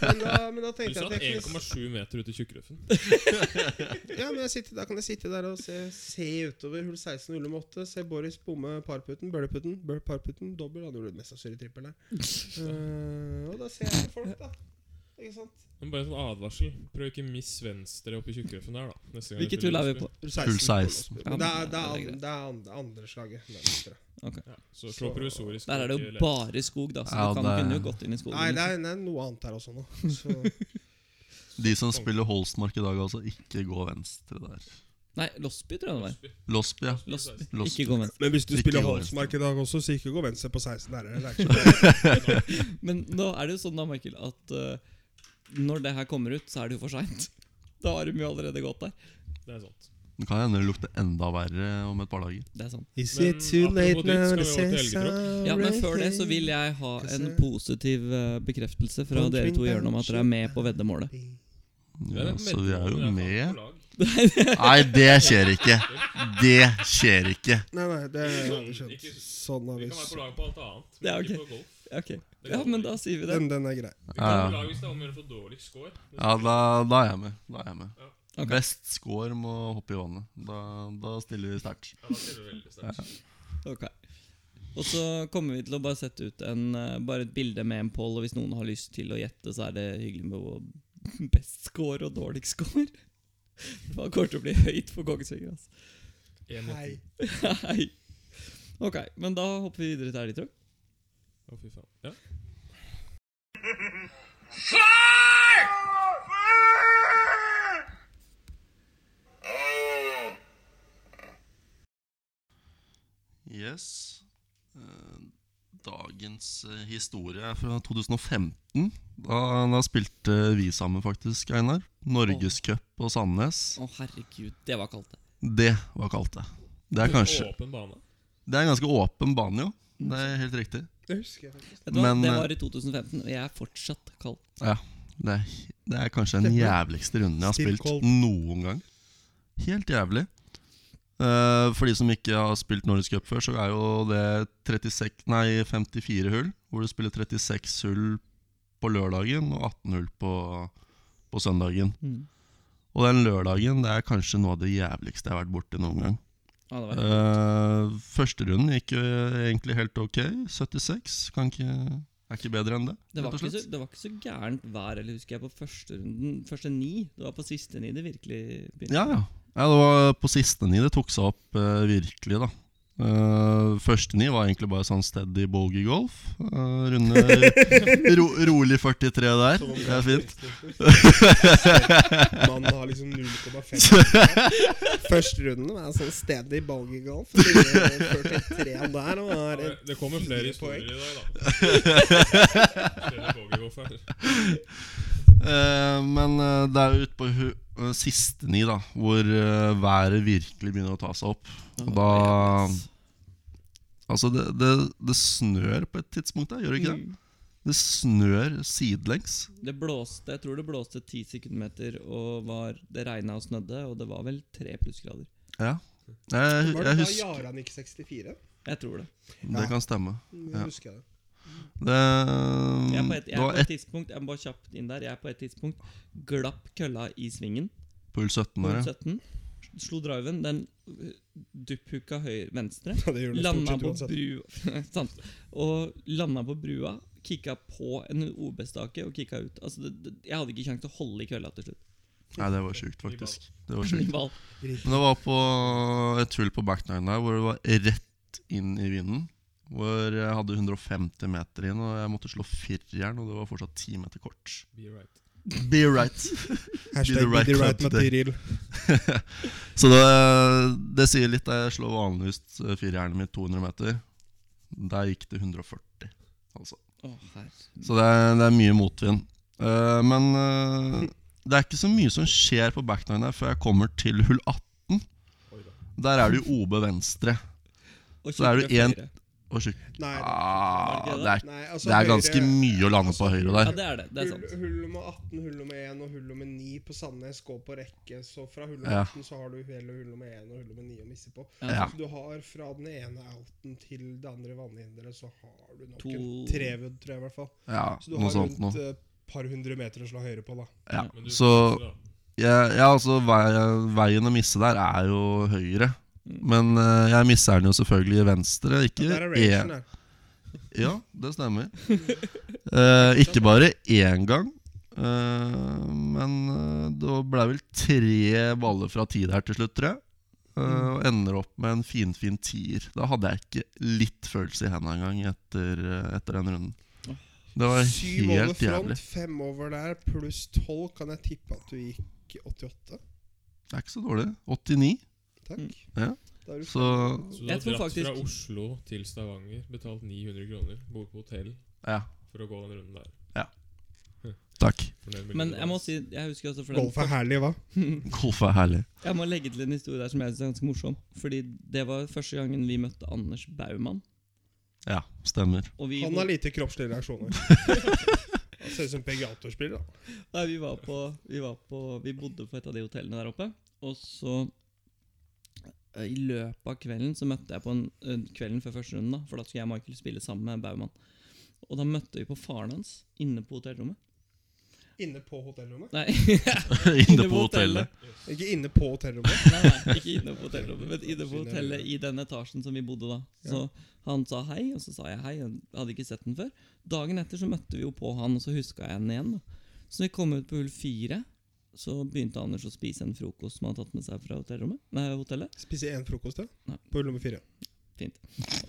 [SPEAKER 3] Men da, men da
[SPEAKER 1] Du
[SPEAKER 3] tenkte jeg
[SPEAKER 1] satt
[SPEAKER 3] at jeg kunne
[SPEAKER 1] 1,7 meter ute i tjukkrøffen.
[SPEAKER 3] Ja, men jeg sitter, Da kan jeg sitte der og se, se utover hull 16 og hull nummer 8. Se Boris bomme parputten, bøleputten, bøl- parputten, dobbel. Han gjorde det mest sannsynlig trippel der. Eh, og da ser jeg folk, da. Ikke sant?
[SPEAKER 1] Men bare en sånn advarsel. Prøv ikke miss venstre opp i tjukkrøffen der, da. Neste gang
[SPEAKER 2] Hvilket
[SPEAKER 1] du
[SPEAKER 2] hull
[SPEAKER 1] spiller
[SPEAKER 2] er vi
[SPEAKER 1] Osby.
[SPEAKER 2] på?
[SPEAKER 3] Hull
[SPEAKER 4] Hull 16.
[SPEAKER 3] Men det er, det er,
[SPEAKER 2] Ja, men
[SPEAKER 3] an- det er an- andre slaget. Venstre.
[SPEAKER 1] Ja, så slå
[SPEAKER 3] Så-
[SPEAKER 1] provisorisk.
[SPEAKER 2] Der er det
[SPEAKER 1] ikke
[SPEAKER 2] jo
[SPEAKER 1] lett.
[SPEAKER 2] bare skog, da, så
[SPEAKER 4] Ja,
[SPEAKER 2] du kan,
[SPEAKER 4] det-
[SPEAKER 2] kunne jo gått inn i skogen.
[SPEAKER 3] Nei, det
[SPEAKER 2] liksom.
[SPEAKER 3] er, det er noe annet her også nå. Så,
[SPEAKER 4] De som spiller Holstmark i dag, altså. Ikke gå venstre der.
[SPEAKER 2] Nei, Losby, tror jeg det var.
[SPEAKER 1] Osby.
[SPEAKER 4] Losby, ja.
[SPEAKER 2] Losby.
[SPEAKER 4] Losby.
[SPEAKER 2] Ikke gå venstre.
[SPEAKER 3] men hvis
[SPEAKER 4] du Ikke spiller gå venstre. Holsmark
[SPEAKER 3] i dag også, så ikke gå venstre på 16 der.
[SPEAKER 2] Men nå er det jo sånn da, Michael, at eh, når det her kommer ut, så er det jo for seint. Da har de jo allerede gått der.
[SPEAKER 1] Det er sant.
[SPEAKER 4] Det kan hende det lukter enda verre om et par dager.
[SPEAKER 2] Det er sant.
[SPEAKER 3] Is
[SPEAKER 1] Men it too apropos late ditt, now skal to vi over say til Elgetråd?
[SPEAKER 2] Ja, Men før det så vil jeg ha en positiv eh, bekreftelse fra dere to i hjørnet om at dere er med på veddemålet.
[SPEAKER 4] Ja, så vi er jo med.
[SPEAKER 1] med.
[SPEAKER 4] Nei, det skjer ikke. Det skjer ikke.
[SPEAKER 3] Nei, nei, det har
[SPEAKER 1] Sånn,
[SPEAKER 3] vi skjønt.
[SPEAKER 1] ikke-
[SPEAKER 3] Sånn har
[SPEAKER 1] Vi
[SPEAKER 3] vi
[SPEAKER 1] kan være på lag på alt annet. Men
[SPEAKER 2] Ja, ok.
[SPEAKER 1] ikke på golf.
[SPEAKER 2] Ok, Ja, men da sier vi det.
[SPEAKER 3] Den, den er grei.
[SPEAKER 1] Vi kan
[SPEAKER 4] Ja,
[SPEAKER 1] være på
[SPEAKER 4] ja.
[SPEAKER 1] lag hvis det er om å gjøre å få dårlig score. Det
[SPEAKER 4] ja da, da er jeg med. Da er jeg med.
[SPEAKER 2] Ok.
[SPEAKER 4] Best score må hoppe i vannet. Da, da stiller vi sterkt.
[SPEAKER 1] Ja, da stiller vi veldig sterkt.
[SPEAKER 2] Ok. Og så kommer vi til å bare sette ut en, eh, bare et bilde med en poll, og hvis noen har lyst til å gjette, så er det hyggelig med å best score og dårligst score. Det kommer til å bli høyt for Kongsvinger. Altså.
[SPEAKER 1] En mot
[SPEAKER 3] Hei.
[SPEAKER 1] ti.
[SPEAKER 2] Nei. Ok, men da hopper vi videre til Elgtråd.
[SPEAKER 1] Å, fy faen. Ja.
[SPEAKER 4] Yes. Eh, Dagens eh, historie er fra 2015. Da, da spilte vi sammen, faktisk, Einar. Norgescup på Sandnes.
[SPEAKER 2] Å, herregud, det var kaldt. det.
[SPEAKER 4] Det var kaldt, det. Det er kanskje
[SPEAKER 1] Åpen bane.
[SPEAKER 4] Det er en ganske åpen bane, jo. Det er helt riktig.
[SPEAKER 3] Det husker jeg faktisk.
[SPEAKER 2] Vet du hva?
[SPEAKER 4] Men,
[SPEAKER 2] Det
[SPEAKER 4] eh,
[SPEAKER 2] var i 2015, og jeg er fortsatt kald.
[SPEAKER 4] Ja, det er, det er kanskje den jævligste runden jeg har
[SPEAKER 3] Still
[SPEAKER 4] spilt
[SPEAKER 3] cold.
[SPEAKER 4] noen gang. Helt jævlig. Eh, for de som ikke har spilt Nordisk Cup før, så er jo det 36, nei, 54 hull. Hvor du spiller 36 hull på lørdagen og 18 hull på, på søndagen.
[SPEAKER 2] Mm.
[SPEAKER 4] Og den lørdagen det er kanskje noe av det jævligste jeg har vært borti noen gang.
[SPEAKER 2] Ja, det var.
[SPEAKER 4] Uh, første runden gikk jo egentlig helt ok. 76 kan ikke, er ikke bedre enn det.
[SPEAKER 2] Det, var
[SPEAKER 4] rett og
[SPEAKER 2] ikke så,
[SPEAKER 4] slett.
[SPEAKER 2] det var ikke så gærent vær, eller husker jeg, på første runden. Første ni. Det var på siste ni det virkelig begynte.
[SPEAKER 4] Ja, ja. ja det var på siste ni det tok seg opp eh, virkelig, da. Eh, første ni var egentlig bare sånn steady bogey golf. Eh, runde ro, rolig 43 der.
[SPEAKER 3] Som om
[SPEAKER 4] Det er fint.
[SPEAKER 3] Mannen har liksom 0,5 Første runden er sånn steady ballgigolf. 43 der og
[SPEAKER 1] Ja,
[SPEAKER 3] er
[SPEAKER 1] det- det kommer flere
[SPEAKER 3] fire
[SPEAKER 1] historier
[SPEAKER 3] poeng.
[SPEAKER 1] i dag, da. Flere bogeyhoff her.
[SPEAKER 4] Eh, men eh, det er jo ute på hu- eh, siste ni, da, hvor eh, været virkelig begynner å ta seg opp. Og da Altså, det, det, det snør på et tidspunkt der, gjør det ikke det?
[SPEAKER 2] Mm.
[SPEAKER 4] Det snør sidelengs.
[SPEAKER 2] Det blåste, jeg tror det blåste ti sekundmeter, og var, det regna og snødde, og det var vel tre plussgrader.
[SPEAKER 4] Ja. Jeg,
[SPEAKER 3] Var det
[SPEAKER 4] jeg
[SPEAKER 3] da
[SPEAKER 4] husker
[SPEAKER 3] Jaran gikk 64?
[SPEAKER 2] Jeg tror det.
[SPEAKER 4] Det kan stemme.
[SPEAKER 3] Jeg husker det.
[SPEAKER 4] Det,
[SPEAKER 2] Jeg er på et, jeg
[SPEAKER 4] Mm,
[SPEAKER 2] er
[SPEAKER 4] det var
[SPEAKER 2] på et
[SPEAKER 4] ett
[SPEAKER 2] tidspunkt, jeg må bare kjapt inn der, jeg er på et tidspunkt glapp kølla i svingen,
[SPEAKER 4] pull 17
[SPEAKER 2] på
[SPEAKER 4] der, ja.
[SPEAKER 2] 17, slo driven, den uh, dupphooka høyre venstre,
[SPEAKER 3] Ja, det gjør det stort
[SPEAKER 2] landa
[SPEAKER 3] sett
[SPEAKER 2] på
[SPEAKER 3] uansett.
[SPEAKER 2] brua Sant. Og landa på brua, kicka på en OB-stake og kicka ut. Altså, det, det, jeg hadde ikke kjangs til å holde i kølla til slutt.
[SPEAKER 4] Nei, det var sjukt, faktisk. Det var sjukt.
[SPEAKER 2] I ball.
[SPEAKER 4] Men det var på et hull på back nine der hvor det var rett inn i vinden. Hvor jeg hadde 150 meter inn, og jeg måtte slå fireren, og det var fortsatt 10 meter kort.
[SPEAKER 1] Be right.
[SPEAKER 4] Be right.
[SPEAKER 3] Hashtag
[SPEAKER 4] right
[SPEAKER 3] be the right
[SPEAKER 4] club
[SPEAKER 3] material.
[SPEAKER 4] Så det, det sier litt. da Jeg slår vanligvis firjernet mitt 200 meter. Der gikk det 140, altså.
[SPEAKER 2] Å, herre.
[SPEAKER 4] Så det er, det er mye motvind. Eh, men eh, det er ikke så mye som skjer på back nine her før jeg kommer til hull 18.
[SPEAKER 1] Oi da.
[SPEAKER 4] Der er det jo OB venstre.
[SPEAKER 2] Og
[SPEAKER 4] Så er det
[SPEAKER 2] kikket
[SPEAKER 4] en-
[SPEAKER 2] høyre.
[SPEAKER 4] Og sjuk-
[SPEAKER 3] Nei,
[SPEAKER 4] Ah,
[SPEAKER 2] det
[SPEAKER 4] det er
[SPEAKER 3] nei, altså,
[SPEAKER 4] Det er ganske
[SPEAKER 3] høyre-
[SPEAKER 4] mye å lande på
[SPEAKER 3] altså,
[SPEAKER 4] høyre
[SPEAKER 2] Ja,
[SPEAKER 4] der.
[SPEAKER 2] det er det. Det er
[SPEAKER 3] Hull,
[SPEAKER 2] sant.
[SPEAKER 3] hull nummer 18, hull nummer 1 og hull nummer 9 på Sandnes går på rekke. Så fra hull nummer
[SPEAKER 4] Ja.
[SPEAKER 3] 18 så har du hele hull nummer 1 og hull nummer 9 å misse på.
[SPEAKER 4] Ja.
[SPEAKER 3] Du har fra den ene outen til det andre vannhinderet, så har du nok
[SPEAKER 2] To-
[SPEAKER 3] en trevudd, tror jeg i hvert fall.
[SPEAKER 4] Ja,
[SPEAKER 3] Så du
[SPEAKER 4] noe
[SPEAKER 3] har
[SPEAKER 4] sånt
[SPEAKER 3] rundt eh,
[SPEAKER 4] noe.
[SPEAKER 3] et par hundre meter å slå høyre på, da.
[SPEAKER 4] Ja.
[SPEAKER 1] Men du,
[SPEAKER 4] Så
[SPEAKER 1] da.
[SPEAKER 4] ja, ja, altså, vei- veien å misse der er jo høyre. Men eh, jeg misser den jo selvfølgelig i venstre.
[SPEAKER 3] Mm.
[SPEAKER 4] Ikke E-
[SPEAKER 3] Der er
[SPEAKER 4] én
[SPEAKER 3] rangen der.
[SPEAKER 4] Ja, det stemmer. Eh, ikke bare én gang. eh, men eh, det ble vel tre baller fra ti der til slutt, tror jeg. Eh, og ender opp med en finfin tier. Da hadde jeg ikke litt følelse i hendene engang etter, eh, etter den runden. Det var
[SPEAKER 3] Syv over
[SPEAKER 4] helt jævlig.
[SPEAKER 3] front, fem over der, pluss tolv. Kan jeg tippe at du gikk 88?
[SPEAKER 4] Det er ikke så dårlig. 89.
[SPEAKER 3] Takk.
[SPEAKER 4] Mm. Ja.
[SPEAKER 3] Da er du
[SPEAKER 4] Så
[SPEAKER 1] Så du har
[SPEAKER 2] Jeg
[SPEAKER 1] dratt
[SPEAKER 2] tror
[SPEAKER 1] fra
[SPEAKER 2] faktisk-
[SPEAKER 1] Oslo til Stavanger, betalt 900 kroner, bor på hotell
[SPEAKER 4] ja,
[SPEAKER 1] for å gå den runden der.
[SPEAKER 4] takk.
[SPEAKER 1] Fornøyd med
[SPEAKER 2] Men
[SPEAKER 1] livet,
[SPEAKER 2] jeg må
[SPEAKER 1] da.
[SPEAKER 2] si Jeg husker også for den
[SPEAKER 3] Golf er herlig, hva?
[SPEAKER 4] Golf er herlig.
[SPEAKER 2] Jeg må legge til en historie der som jeg synes er ganske morsom. Fordi det var første gangen vi møtte Anders Baumann.
[SPEAKER 4] Ja, stemmer.
[SPEAKER 2] Og vi,
[SPEAKER 3] Han har lite kroppslige reaksjoner. Han ser ut som PGA-spiller, da.
[SPEAKER 2] nei, vi, var på, vi var på Vi bodde på et av de hotellene der oppe. Og så eh, i løpet av kvelden så møtte jeg på en, eh, kvelden før første runden, da, for da skulle jeg og Michael spille sammen med Baumann. Og da møtte vi på faren hans inne på hotellrommet.
[SPEAKER 3] Inne på hotellrommet?
[SPEAKER 2] Nei,
[SPEAKER 4] Inne på hotellet.
[SPEAKER 3] Ikke inne på hotellrommet.
[SPEAKER 2] Nei, nei, ikke inne på hotellrommet, men inne på hotellet i den etasjen som vi bodde da. Så han sa hei, og så sa jeg hei. Jeg hadde ikke sett den før. Dagen etter så møtte vi jo på han, og så huska jeg den igjen. da. Så når vi kom ut på hull fire, så begynte Anders å spise en frokost som han hadde tatt med seg fra hotellrommet. Nei, hotellet.
[SPEAKER 3] Spise én frokost, ja.
[SPEAKER 2] Nei.
[SPEAKER 3] På hull nummer fire.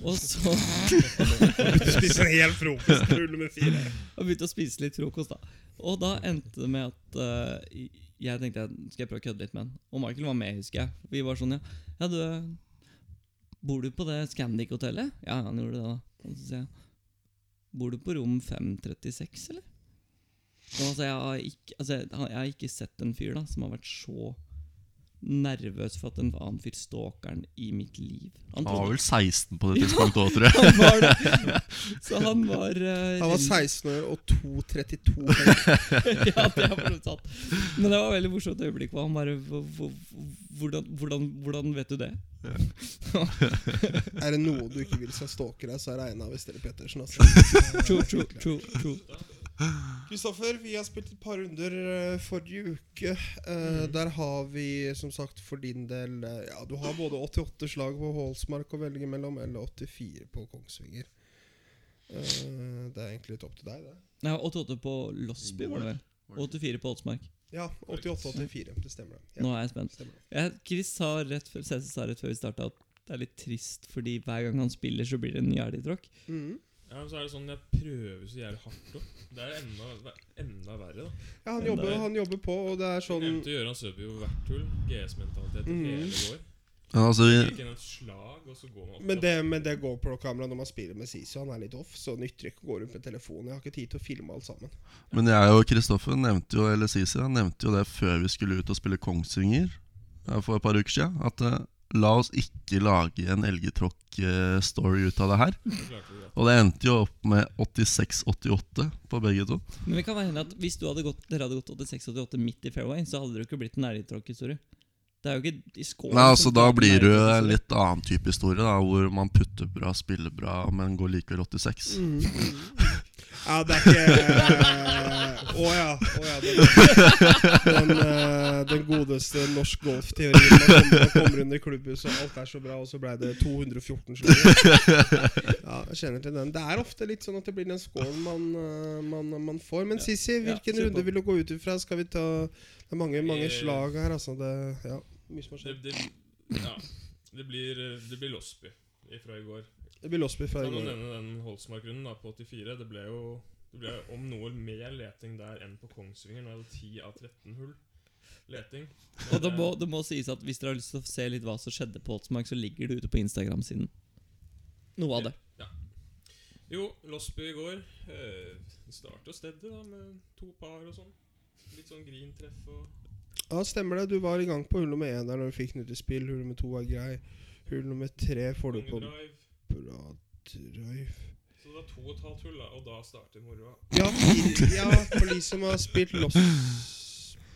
[SPEAKER 2] Og så
[SPEAKER 3] Spise en hel frokost på hull nummer fire.
[SPEAKER 2] og begynte å spise litt frokost, da. Og da endte det med at eh, jeg tenkte at skal jeg prøve å kødde litt med han. Og Michael var med, husker jeg. Vi var sånn, ja. ja du, bor du på det Scandic-hotellet? Ja, han gjorde det, da. Og så sier jeg, bor du på rom 536, eller? Og altså, jeg, har ikke, altså, jeg, har- jeg har ikke sett en fyr da som har vært så nervøs for at en annen fyr stalker han i mitt liv. Han
[SPEAKER 4] Han var
[SPEAKER 2] trodde
[SPEAKER 4] vel 16 på det tidspunktet òg, tror jeg.
[SPEAKER 2] han var det. Så han var eh,
[SPEAKER 3] Han var 16 år og 2,32.
[SPEAKER 2] ja, det er for sant. Men det var et veldig morsomt øyeblikk. hvor Han bare hvor- hvor- hvordan, hvordan, hvordan vet du det?
[SPEAKER 3] Er det noe du ikke vil skal stalke deg, så er det Einar Vestre Pettersen. Altså.
[SPEAKER 2] True, true, true, true.
[SPEAKER 3] Kristoffer, vi har spilt et par runder eh, forrige uke. Eh, Der har vi som sagt for din del eh, Ja, du har både 88 slag på Hålsmark å velge mellom, eller 84 på Kongsvinger. Eh, det er egentlig litt opp til deg, det.
[SPEAKER 2] Nei, 88 på Losby, var det vel? Og 84 på Oldsmark.
[SPEAKER 3] Ja, 88-84. Det stemmer, det. Ja,
[SPEAKER 2] Nå er jeg spent.
[SPEAKER 3] stemmer det.
[SPEAKER 2] Jeg, Chris sa rett før, Cæsar sa rett før vi starta at Det er litt trist, fordi hver gang han spiller, så blir det en ny elgtråkk.
[SPEAKER 3] Mhm.
[SPEAKER 1] Ja, men så er det sånn jeg prøver så jævlig hardt òg. Det er enda, det er enda verre, da.
[SPEAKER 3] Ja, han
[SPEAKER 2] Men
[SPEAKER 3] jobber,
[SPEAKER 2] det-
[SPEAKER 3] han jobber på, og det er
[SPEAKER 1] Jeg
[SPEAKER 3] sånn
[SPEAKER 1] nevnte Gøran Søby jo hvert hull. GS-mentalitet
[SPEAKER 3] Mhm.
[SPEAKER 1] hele vår.
[SPEAKER 4] Ja, altså, vi,
[SPEAKER 1] Gikk inn et slag, og så går man opp.
[SPEAKER 3] Men det, men det GoPro-kameraet når man spiller med Sisu, han er litt off, så nytter det ikke å gå rundt med telefonen. Jeg har ikke tid til å filme alt sammen.
[SPEAKER 4] Men jeg og Kristoffer nevnte jo eller Sisi, han nevnte jo det før vi skulle ut og spille Kongsvinger eh, for et par uker siden. At eh, la oss ikke lage en elgetråkk-story ut av det her.
[SPEAKER 1] så klarte vi det.
[SPEAKER 4] Og det endte jo opp med 86-88 på begge to.
[SPEAKER 2] Men det kan være hende at hvis du hadde gått, dere hadde gått 86-88 midt i fairway, så hadde det jo ikke blitt en elgtråkkhistorie. Det er jo ikke i skålen
[SPEAKER 4] Nei, altså
[SPEAKER 2] som
[SPEAKER 4] Da
[SPEAKER 2] får den
[SPEAKER 4] blir det jo en
[SPEAKER 2] elgtråkkhistorien.
[SPEAKER 4] litt annen type historie, da, hvor man putter bra, spiller bra, men går likevel 86.
[SPEAKER 3] Ja, det er ikke Å ja. Å ja den, den, eh, den godeste norsk golfteorien. Man kommer, man kommer under klubbhuset, og alt er så bra, og så ble det 214 slag. Ja, jeg kjenner til den. Det er ofte litt sånn at det blir den scoren man, eh, man, man får. Men Sisi,
[SPEAKER 2] Ja,
[SPEAKER 3] hvilken
[SPEAKER 2] kjør på.
[SPEAKER 3] runde vil du gå ut ifra? Skal vi ta Det er mange, mange
[SPEAKER 1] Eh,
[SPEAKER 3] slag her, altså. Det, ja, mye som har
[SPEAKER 1] Det,
[SPEAKER 3] skjedd.
[SPEAKER 1] det, ja, det blir, det blir Losby fra i går.
[SPEAKER 3] Det blir Losby fra
[SPEAKER 1] Kan
[SPEAKER 3] i
[SPEAKER 1] jo
[SPEAKER 3] går.
[SPEAKER 1] nevne den Holsmark-runden da, på 84. Det ble jo det ble om noe mer leting der enn på Kongsvinger. Nå er det 10 av 13 hull leting. Men,
[SPEAKER 2] Og det må,
[SPEAKER 1] eh,
[SPEAKER 2] det må sies at hvis dere har lyst til å se litt hva som skjedde på Holtsmark, så ligger det ute på Instagram-siden. Noe av det.
[SPEAKER 1] eh, Jo, Losby i går. Eh, starter stedet da med to par og sånn. Litt sånn grintreff og
[SPEAKER 3] Ja, stemmer det. Du var i gang på hull nummer én der når du fikk den ut i spill. Hull nummer to var grei. Hull nummer tre får du på
[SPEAKER 1] mange drive.
[SPEAKER 3] bra drive.
[SPEAKER 1] Så det er to og et halvt hull, da, og da starter moroa.
[SPEAKER 3] Ja, ja, for de som har spilt Losby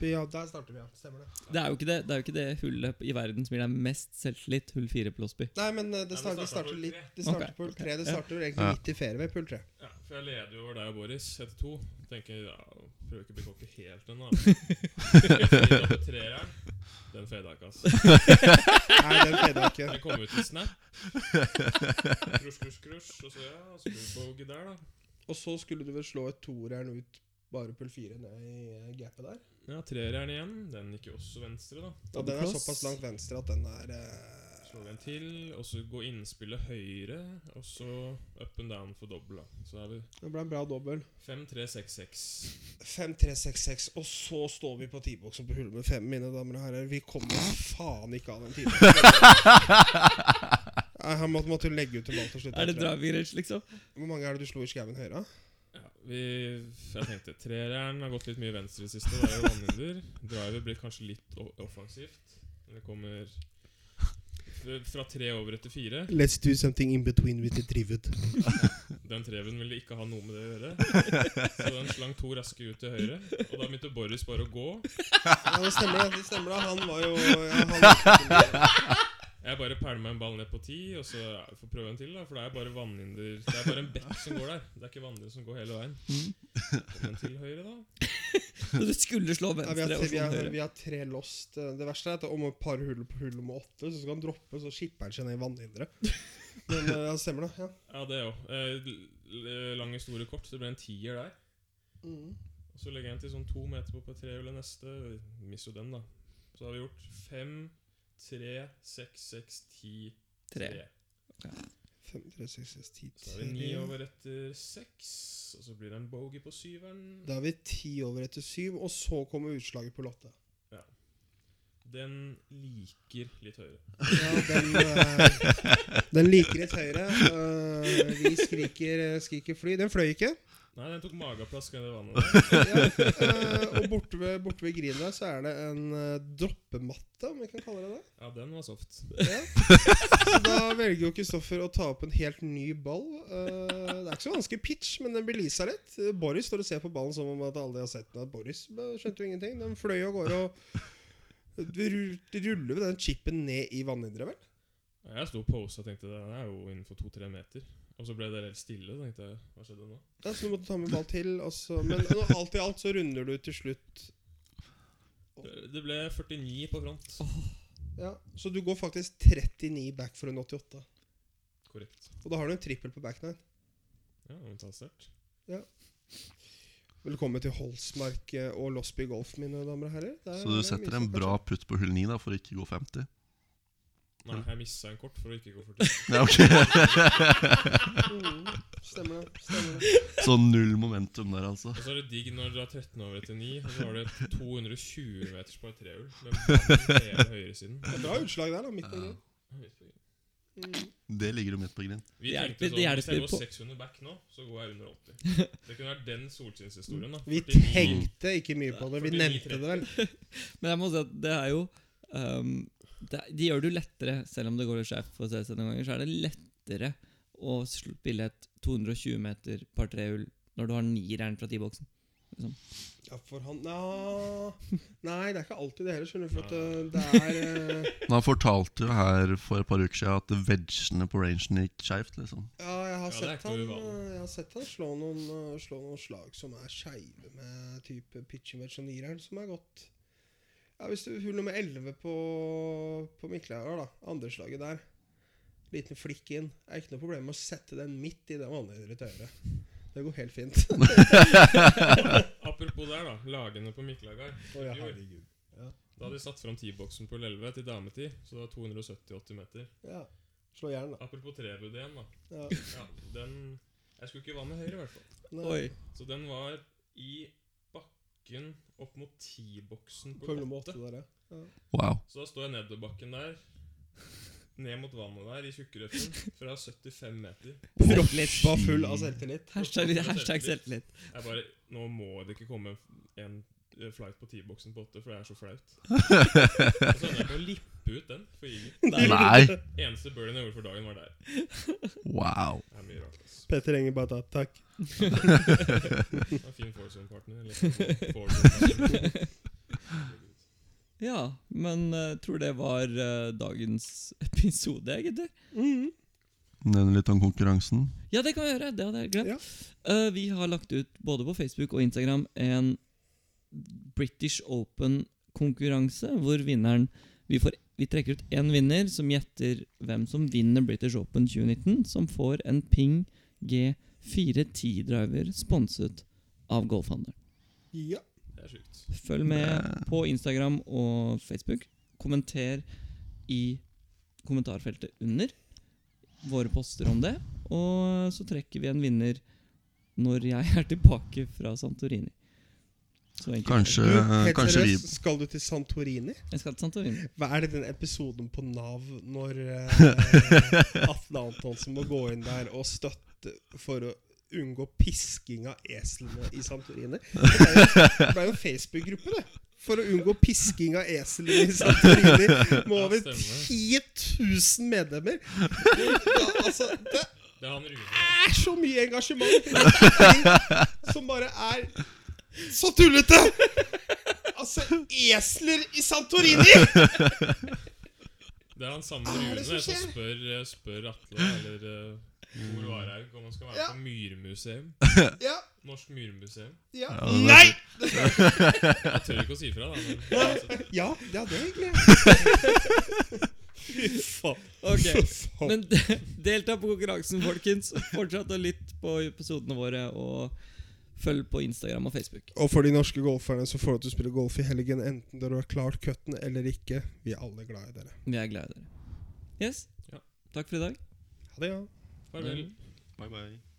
[SPEAKER 3] Ja, der starter vi, ja. Stemmer det.
[SPEAKER 2] Det er jo ikke det, det, er jo ikke det hullet i verden som gir deg mest selvtillit, hull fire på Losby.
[SPEAKER 3] Nei, men eh, det,
[SPEAKER 1] det
[SPEAKER 3] starter,
[SPEAKER 1] starter
[SPEAKER 3] det
[SPEAKER 1] på
[SPEAKER 3] starter
[SPEAKER 1] hull
[SPEAKER 3] litt
[SPEAKER 1] tre.
[SPEAKER 3] Det starter
[SPEAKER 2] Ok,
[SPEAKER 3] på hull
[SPEAKER 2] ok,
[SPEAKER 3] tre. Det
[SPEAKER 2] ja.
[SPEAKER 3] starter vel egentlig
[SPEAKER 4] Ja.
[SPEAKER 3] midt i fairway på hull tre.
[SPEAKER 1] Ja, for jeg leder jo over deg og Boris etter to. Tenker ja, prøver ikke å bli cocky helt ennå. Fira på treeren. Den fada ikke, ass.
[SPEAKER 3] Nei, den fada ikke.
[SPEAKER 1] Jeg kom ut i snap. Krusj, krusj, krusj. Og så ja, screwbogie der, da.
[SPEAKER 3] Og så skulle du vel slå et toeren ut bare pull fire ned i eh, gapet der.
[SPEAKER 1] Ja, treeren igjen. Den gikk jo også venstre, da.
[SPEAKER 3] Og den er
[SPEAKER 2] Dobbeltkloss.
[SPEAKER 3] såpass langt venstre at den er eh,
[SPEAKER 1] Slår den til, og så gå innspillet høyre, og så up and down for dobbel, da. Så er vi
[SPEAKER 3] Det ble en bra dobbel.
[SPEAKER 1] 5-3-6-6.
[SPEAKER 3] 5-3-6-6, og så står vi på T-boksen på hull med fem, mine damer og herrer. Vi kommer faen ikke av den timen. Nei, Han måtte, måtte jo legge ut en ball til slutt.
[SPEAKER 2] Er det
[SPEAKER 3] tror jeg.
[SPEAKER 2] driving range, liksom?
[SPEAKER 3] Hvor mange er det du slo i skauen høyre? da?
[SPEAKER 1] Ja, vi, jeg tenkte Treeren har gått litt mye venstre i det siste. Det er jo vannhinder. Driver blir kanskje litt o- offensivt. Når det kommer f- fra tre over etter fire.
[SPEAKER 3] Let's do something in between with the drivet.
[SPEAKER 1] Den treven ville ikke ha noe med det å gjøre. Så den slang to raske ut til høyre. Og da begynte Boris bare å gå.
[SPEAKER 3] Ja, det stemmer, det. det stemmer da. Han var jo ja, han,
[SPEAKER 1] Jeg bare pælma en ball ned på ti, og så ja, vi får prøve en til, da. For det er bare vannhinder Det er bare en bekk som går der. Det er ikke vannhinder som går hele veien. Kom en til høyre, da.
[SPEAKER 2] Mm. Så du skulle slå
[SPEAKER 3] ja, vi, har,
[SPEAKER 2] venstre og
[SPEAKER 3] vi,
[SPEAKER 2] slå
[SPEAKER 3] har,
[SPEAKER 2] høyre.
[SPEAKER 3] vi har tre lost. Det verste er at om et par hull på hull nummer åtte, så skal han droppe, så skipper han seg ned i vannhinderet. Men eh, ja, stemmer det. Ja.
[SPEAKER 1] Ja, det òg. Eh, l- l- lang historie kort, så det ble en tier der.
[SPEAKER 3] Mm.
[SPEAKER 1] Og så legger jeg en til sånn to meter på på trehjulet neste. Mister jo den, da. Så har vi gjort fem, tre, seks, seks, ti,
[SPEAKER 2] Tre.
[SPEAKER 1] tre.
[SPEAKER 3] 5, 3, 6, 6, 10,
[SPEAKER 1] Så er det ni
[SPEAKER 3] 3.
[SPEAKER 1] over etter seks, og så blir det en bogey på syveren.
[SPEAKER 3] Da er vi ti over etter syv, og så kommer utslaget på Lotte.
[SPEAKER 1] Den liker litt høyere.
[SPEAKER 3] Ja, den, eh, den liker litt høyre. Eh, vi skriker, eh, skriker fly. Den fløy ikke.
[SPEAKER 1] Nei, den tok mageplask under vannet.
[SPEAKER 3] Ja, eh, og borte ved, borte ved grinet så er det en eh, droppematte, om vi kan kalle det det.
[SPEAKER 1] Ja, den var soft.
[SPEAKER 3] Ja. Så da velger jo Kristoffer å ta opp en helt ny ball. Eh, det er ikke så vanskelig pitch, men den belisa litt. Eh, Boris står og ser på ballen som om at alle har sett den. At Boris eh, skjønte jo ingenting. Den fløy av gårde og ru- ruller ved den chipen ned i vannhinderet, vel?
[SPEAKER 1] Ja, Jeg sto og posa og tenkte det er jo innenfor to-tre meter. Og så ble det helt stille. så tenkte jeg, hva skjedde nå?
[SPEAKER 3] Ja, så du måtte ta med ball til. Og så, men nå, alt i alt så runder du til slutt
[SPEAKER 1] Det ble 49 på front.
[SPEAKER 3] ja. Så du går faktisk 39 back for en 88.
[SPEAKER 1] Korrekt.
[SPEAKER 3] Og da har du en trippel på back nine.
[SPEAKER 1] Ja, men ta sterkt.
[SPEAKER 3] Velkommen til Holsmark eh, og Losby Golf, mine damer og herrer. Der
[SPEAKER 4] Så du
[SPEAKER 3] er det mye
[SPEAKER 4] setter
[SPEAKER 3] som
[SPEAKER 4] en
[SPEAKER 3] kan skje.
[SPEAKER 4] bra putt på hull 9 da, for å ikke gå 50.
[SPEAKER 1] Nei, jeg missa en kort for å ikke gå for tidlig.
[SPEAKER 4] Ja, ok.
[SPEAKER 3] Stemmer det. stemmer det
[SPEAKER 4] Så null momentum der, altså.
[SPEAKER 1] Og så er det digg når dere har 13 over etter 9, og så har du et 220 meters par trehjul med bånd i hele høyresiden.
[SPEAKER 3] Det er Bra utslag der, da. Midt på grunn. Mm.
[SPEAKER 4] Det ligger jo midt på grind.
[SPEAKER 1] Vi
[SPEAKER 2] Det
[SPEAKER 1] tenkte
[SPEAKER 2] hjelper-
[SPEAKER 1] sånn Hvis
[SPEAKER 2] det
[SPEAKER 1] jeg
[SPEAKER 2] hjelper
[SPEAKER 1] går
[SPEAKER 2] på.
[SPEAKER 1] 600 back nå, så går jeg under 80. Det kunne vært den solskinnshistorien. da
[SPEAKER 3] Vi
[SPEAKER 1] 49.
[SPEAKER 3] tenkte ikke mye på det. Vi nevnte det vel.
[SPEAKER 2] Men jeg må si at det er jo ehm, det, De gjør det jo lettere, selv om det går litt skjevt for CC noen ganger, så er det lettere å sl- spille et 220 meter par trehull når du har nireren fra T-boksen.
[SPEAKER 3] Ja, for han Nja Nei, det er ikke alltid det heller, skjønner du. For at eh, det er eh,
[SPEAKER 4] Men han fortalte jo her for et par uker siden at vegene på rangen gikk skeivt, liksom.
[SPEAKER 3] Ja, jeg
[SPEAKER 1] Ja, det
[SPEAKER 3] har,
[SPEAKER 1] er
[SPEAKER 3] sett
[SPEAKER 1] ikke
[SPEAKER 3] han,
[SPEAKER 1] noe uvanlig.
[SPEAKER 3] eh, jeg har sett han slå noen, eh, slå noen slag som er skeive, med type pitching wedge og nireren, som er godt. Ja, Hvis du hull nummer 11 på, på Miklehauger, da. Andre slaget der. Liten flikk inn. Det er ikke noe problem med å sette den midt i det vanlige tøyet. Det går helt fint.
[SPEAKER 1] Apropos der, da. Lagene på Miklagard.
[SPEAKER 3] Å, ja, herregud.
[SPEAKER 1] Da hadde de satt fram T-boksen på 11 til dametid, så det var 270-80 meter.
[SPEAKER 3] Ja. Slå jern, da.
[SPEAKER 1] Apropos trebud igjen, da.
[SPEAKER 3] Ja.
[SPEAKER 1] Ja, den Jeg skulle ikke vanne høyre, i hvert fall.
[SPEAKER 3] Nei.
[SPEAKER 2] Oi.
[SPEAKER 1] Så den var i bakken opp mot T-boksen
[SPEAKER 3] På
[SPEAKER 1] på
[SPEAKER 3] nummer
[SPEAKER 1] 8.
[SPEAKER 3] åtte der, ja.
[SPEAKER 4] Wow.
[SPEAKER 1] Så da står jeg nedover bakken der, ned mot vannet der, i tjukkerøffen, fra 75 meter.
[SPEAKER 2] Proff litt.
[SPEAKER 3] Var full altså. av selvtillit.
[SPEAKER 2] Hashtag, hashtag selvtillit.
[SPEAKER 1] Jeg bare Nå må det ikke komme en eh, flight på T-boksen på 8, for det er så flaut. Og så ender jeg på å lippe ut den for Eagle.
[SPEAKER 4] Nei!
[SPEAKER 1] Eneste burden jeg gjorde for dagen, var der.
[SPEAKER 4] Wow.
[SPEAKER 1] Det er mye rart. ass.
[SPEAKER 3] Petter Enger bare ta takk.
[SPEAKER 1] Det var en fin foursome-partner. eller sånn foursome-partner.
[SPEAKER 2] Ja, men eh, tror det var eh, dagens episode, egentlig.
[SPEAKER 3] Mm.
[SPEAKER 4] Nevne litt om konkurransen.
[SPEAKER 2] Ja, det kan vi gjøre. Det hadde jeg glemt.
[SPEAKER 3] Ja.
[SPEAKER 2] Eh, vi har lagt ut både på Facebook og Instagram en British Open-konkurranse, hvor vinneren vi, får, vi trekker ut én vinner som gjetter hvem som vinner British Open 2019, som får en Ping G410-driver sponset av Golfhandelen.
[SPEAKER 3] Ja.
[SPEAKER 1] Det er sjukt.
[SPEAKER 2] Følg med på Instagram og Facebook. Kommenter i kommentarfeltet under våre poster om det. Og så trekker vi en vinner når jeg er tilbake fra Santorini. Så enkelt.
[SPEAKER 4] Kanskje,
[SPEAKER 3] Du, helt
[SPEAKER 4] Eh, kanskje vi
[SPEAKER 3] seriøst, skal du til Santorini?
[SPEAKER 2] Jeg skal til Santorini.
[SPEAKER 3] Hva er det den episoden på Nav når eh, Atle Antonsen må gå inn der og støtte for å unngå pisking av eslene i Santorini? Det ble jo- det ble jo en Facebook-gruppe, det. For å unngå pisking av eslene i Santorini med over
[SPEAKER 1] Ja,
[SPEAKER 3] 10 000 medlemmer. Ja, altså, det
[SPEAKER 1] Det er han Rune.
[SPEAKER 3] er så mye engasjement i ting som bare er så tullete! Altså, esler i Santorini!
[SPEAKER 1] Det er han samme
[SPEAKER 3] Hva er
[SPEAKER 1] Rune
[SPEAKER 3] det som
[SPEAKER 1] som
[SPEAKER 3] skjer?
[SPEAKER 1] spør, eh, spør Atle eller eh, Tor Varhaug om han skal være
[SPEAKER 3] Ja.
[SPEAKER 1] på myrmuseum.
[SPEAKER 3] Ja,
[SPEAKER 1] Norsk myrmuseum.
[SPEAKER 3] ja.
[SPEAKER 4] Ja, det-
[SPEAKER 3] Nei!
[SPEAKER 1] Jeg tør ikke å si ifra, da. Men, altså,
[SPEAKER 3] Ja, ja, det er egentlig Fy faen.
[SPEAKER 2] Ok,
[SPEAKER 3] faen.
[SPEAKER 2] Men delta på konkurransen, folkens. Fortsett å lytte på episodene våre, og følg på Instagram og Facebook.
[SPEAKER 3] og for de norske golferne som får lov til å spille golf i helgen, enten dere har klart cutten eller ikke, vi er alle glad i dere.
[SPEAKER 2] Vi er glad i dere. Yes?
[SPEAKER 1] Ja.
[SPEAKER 2] Takk for i dag.
[SPEAKER 3] Ha det, ja.
[SPEAKER 1] farvel.
[SPEAKER 4] Bye bye.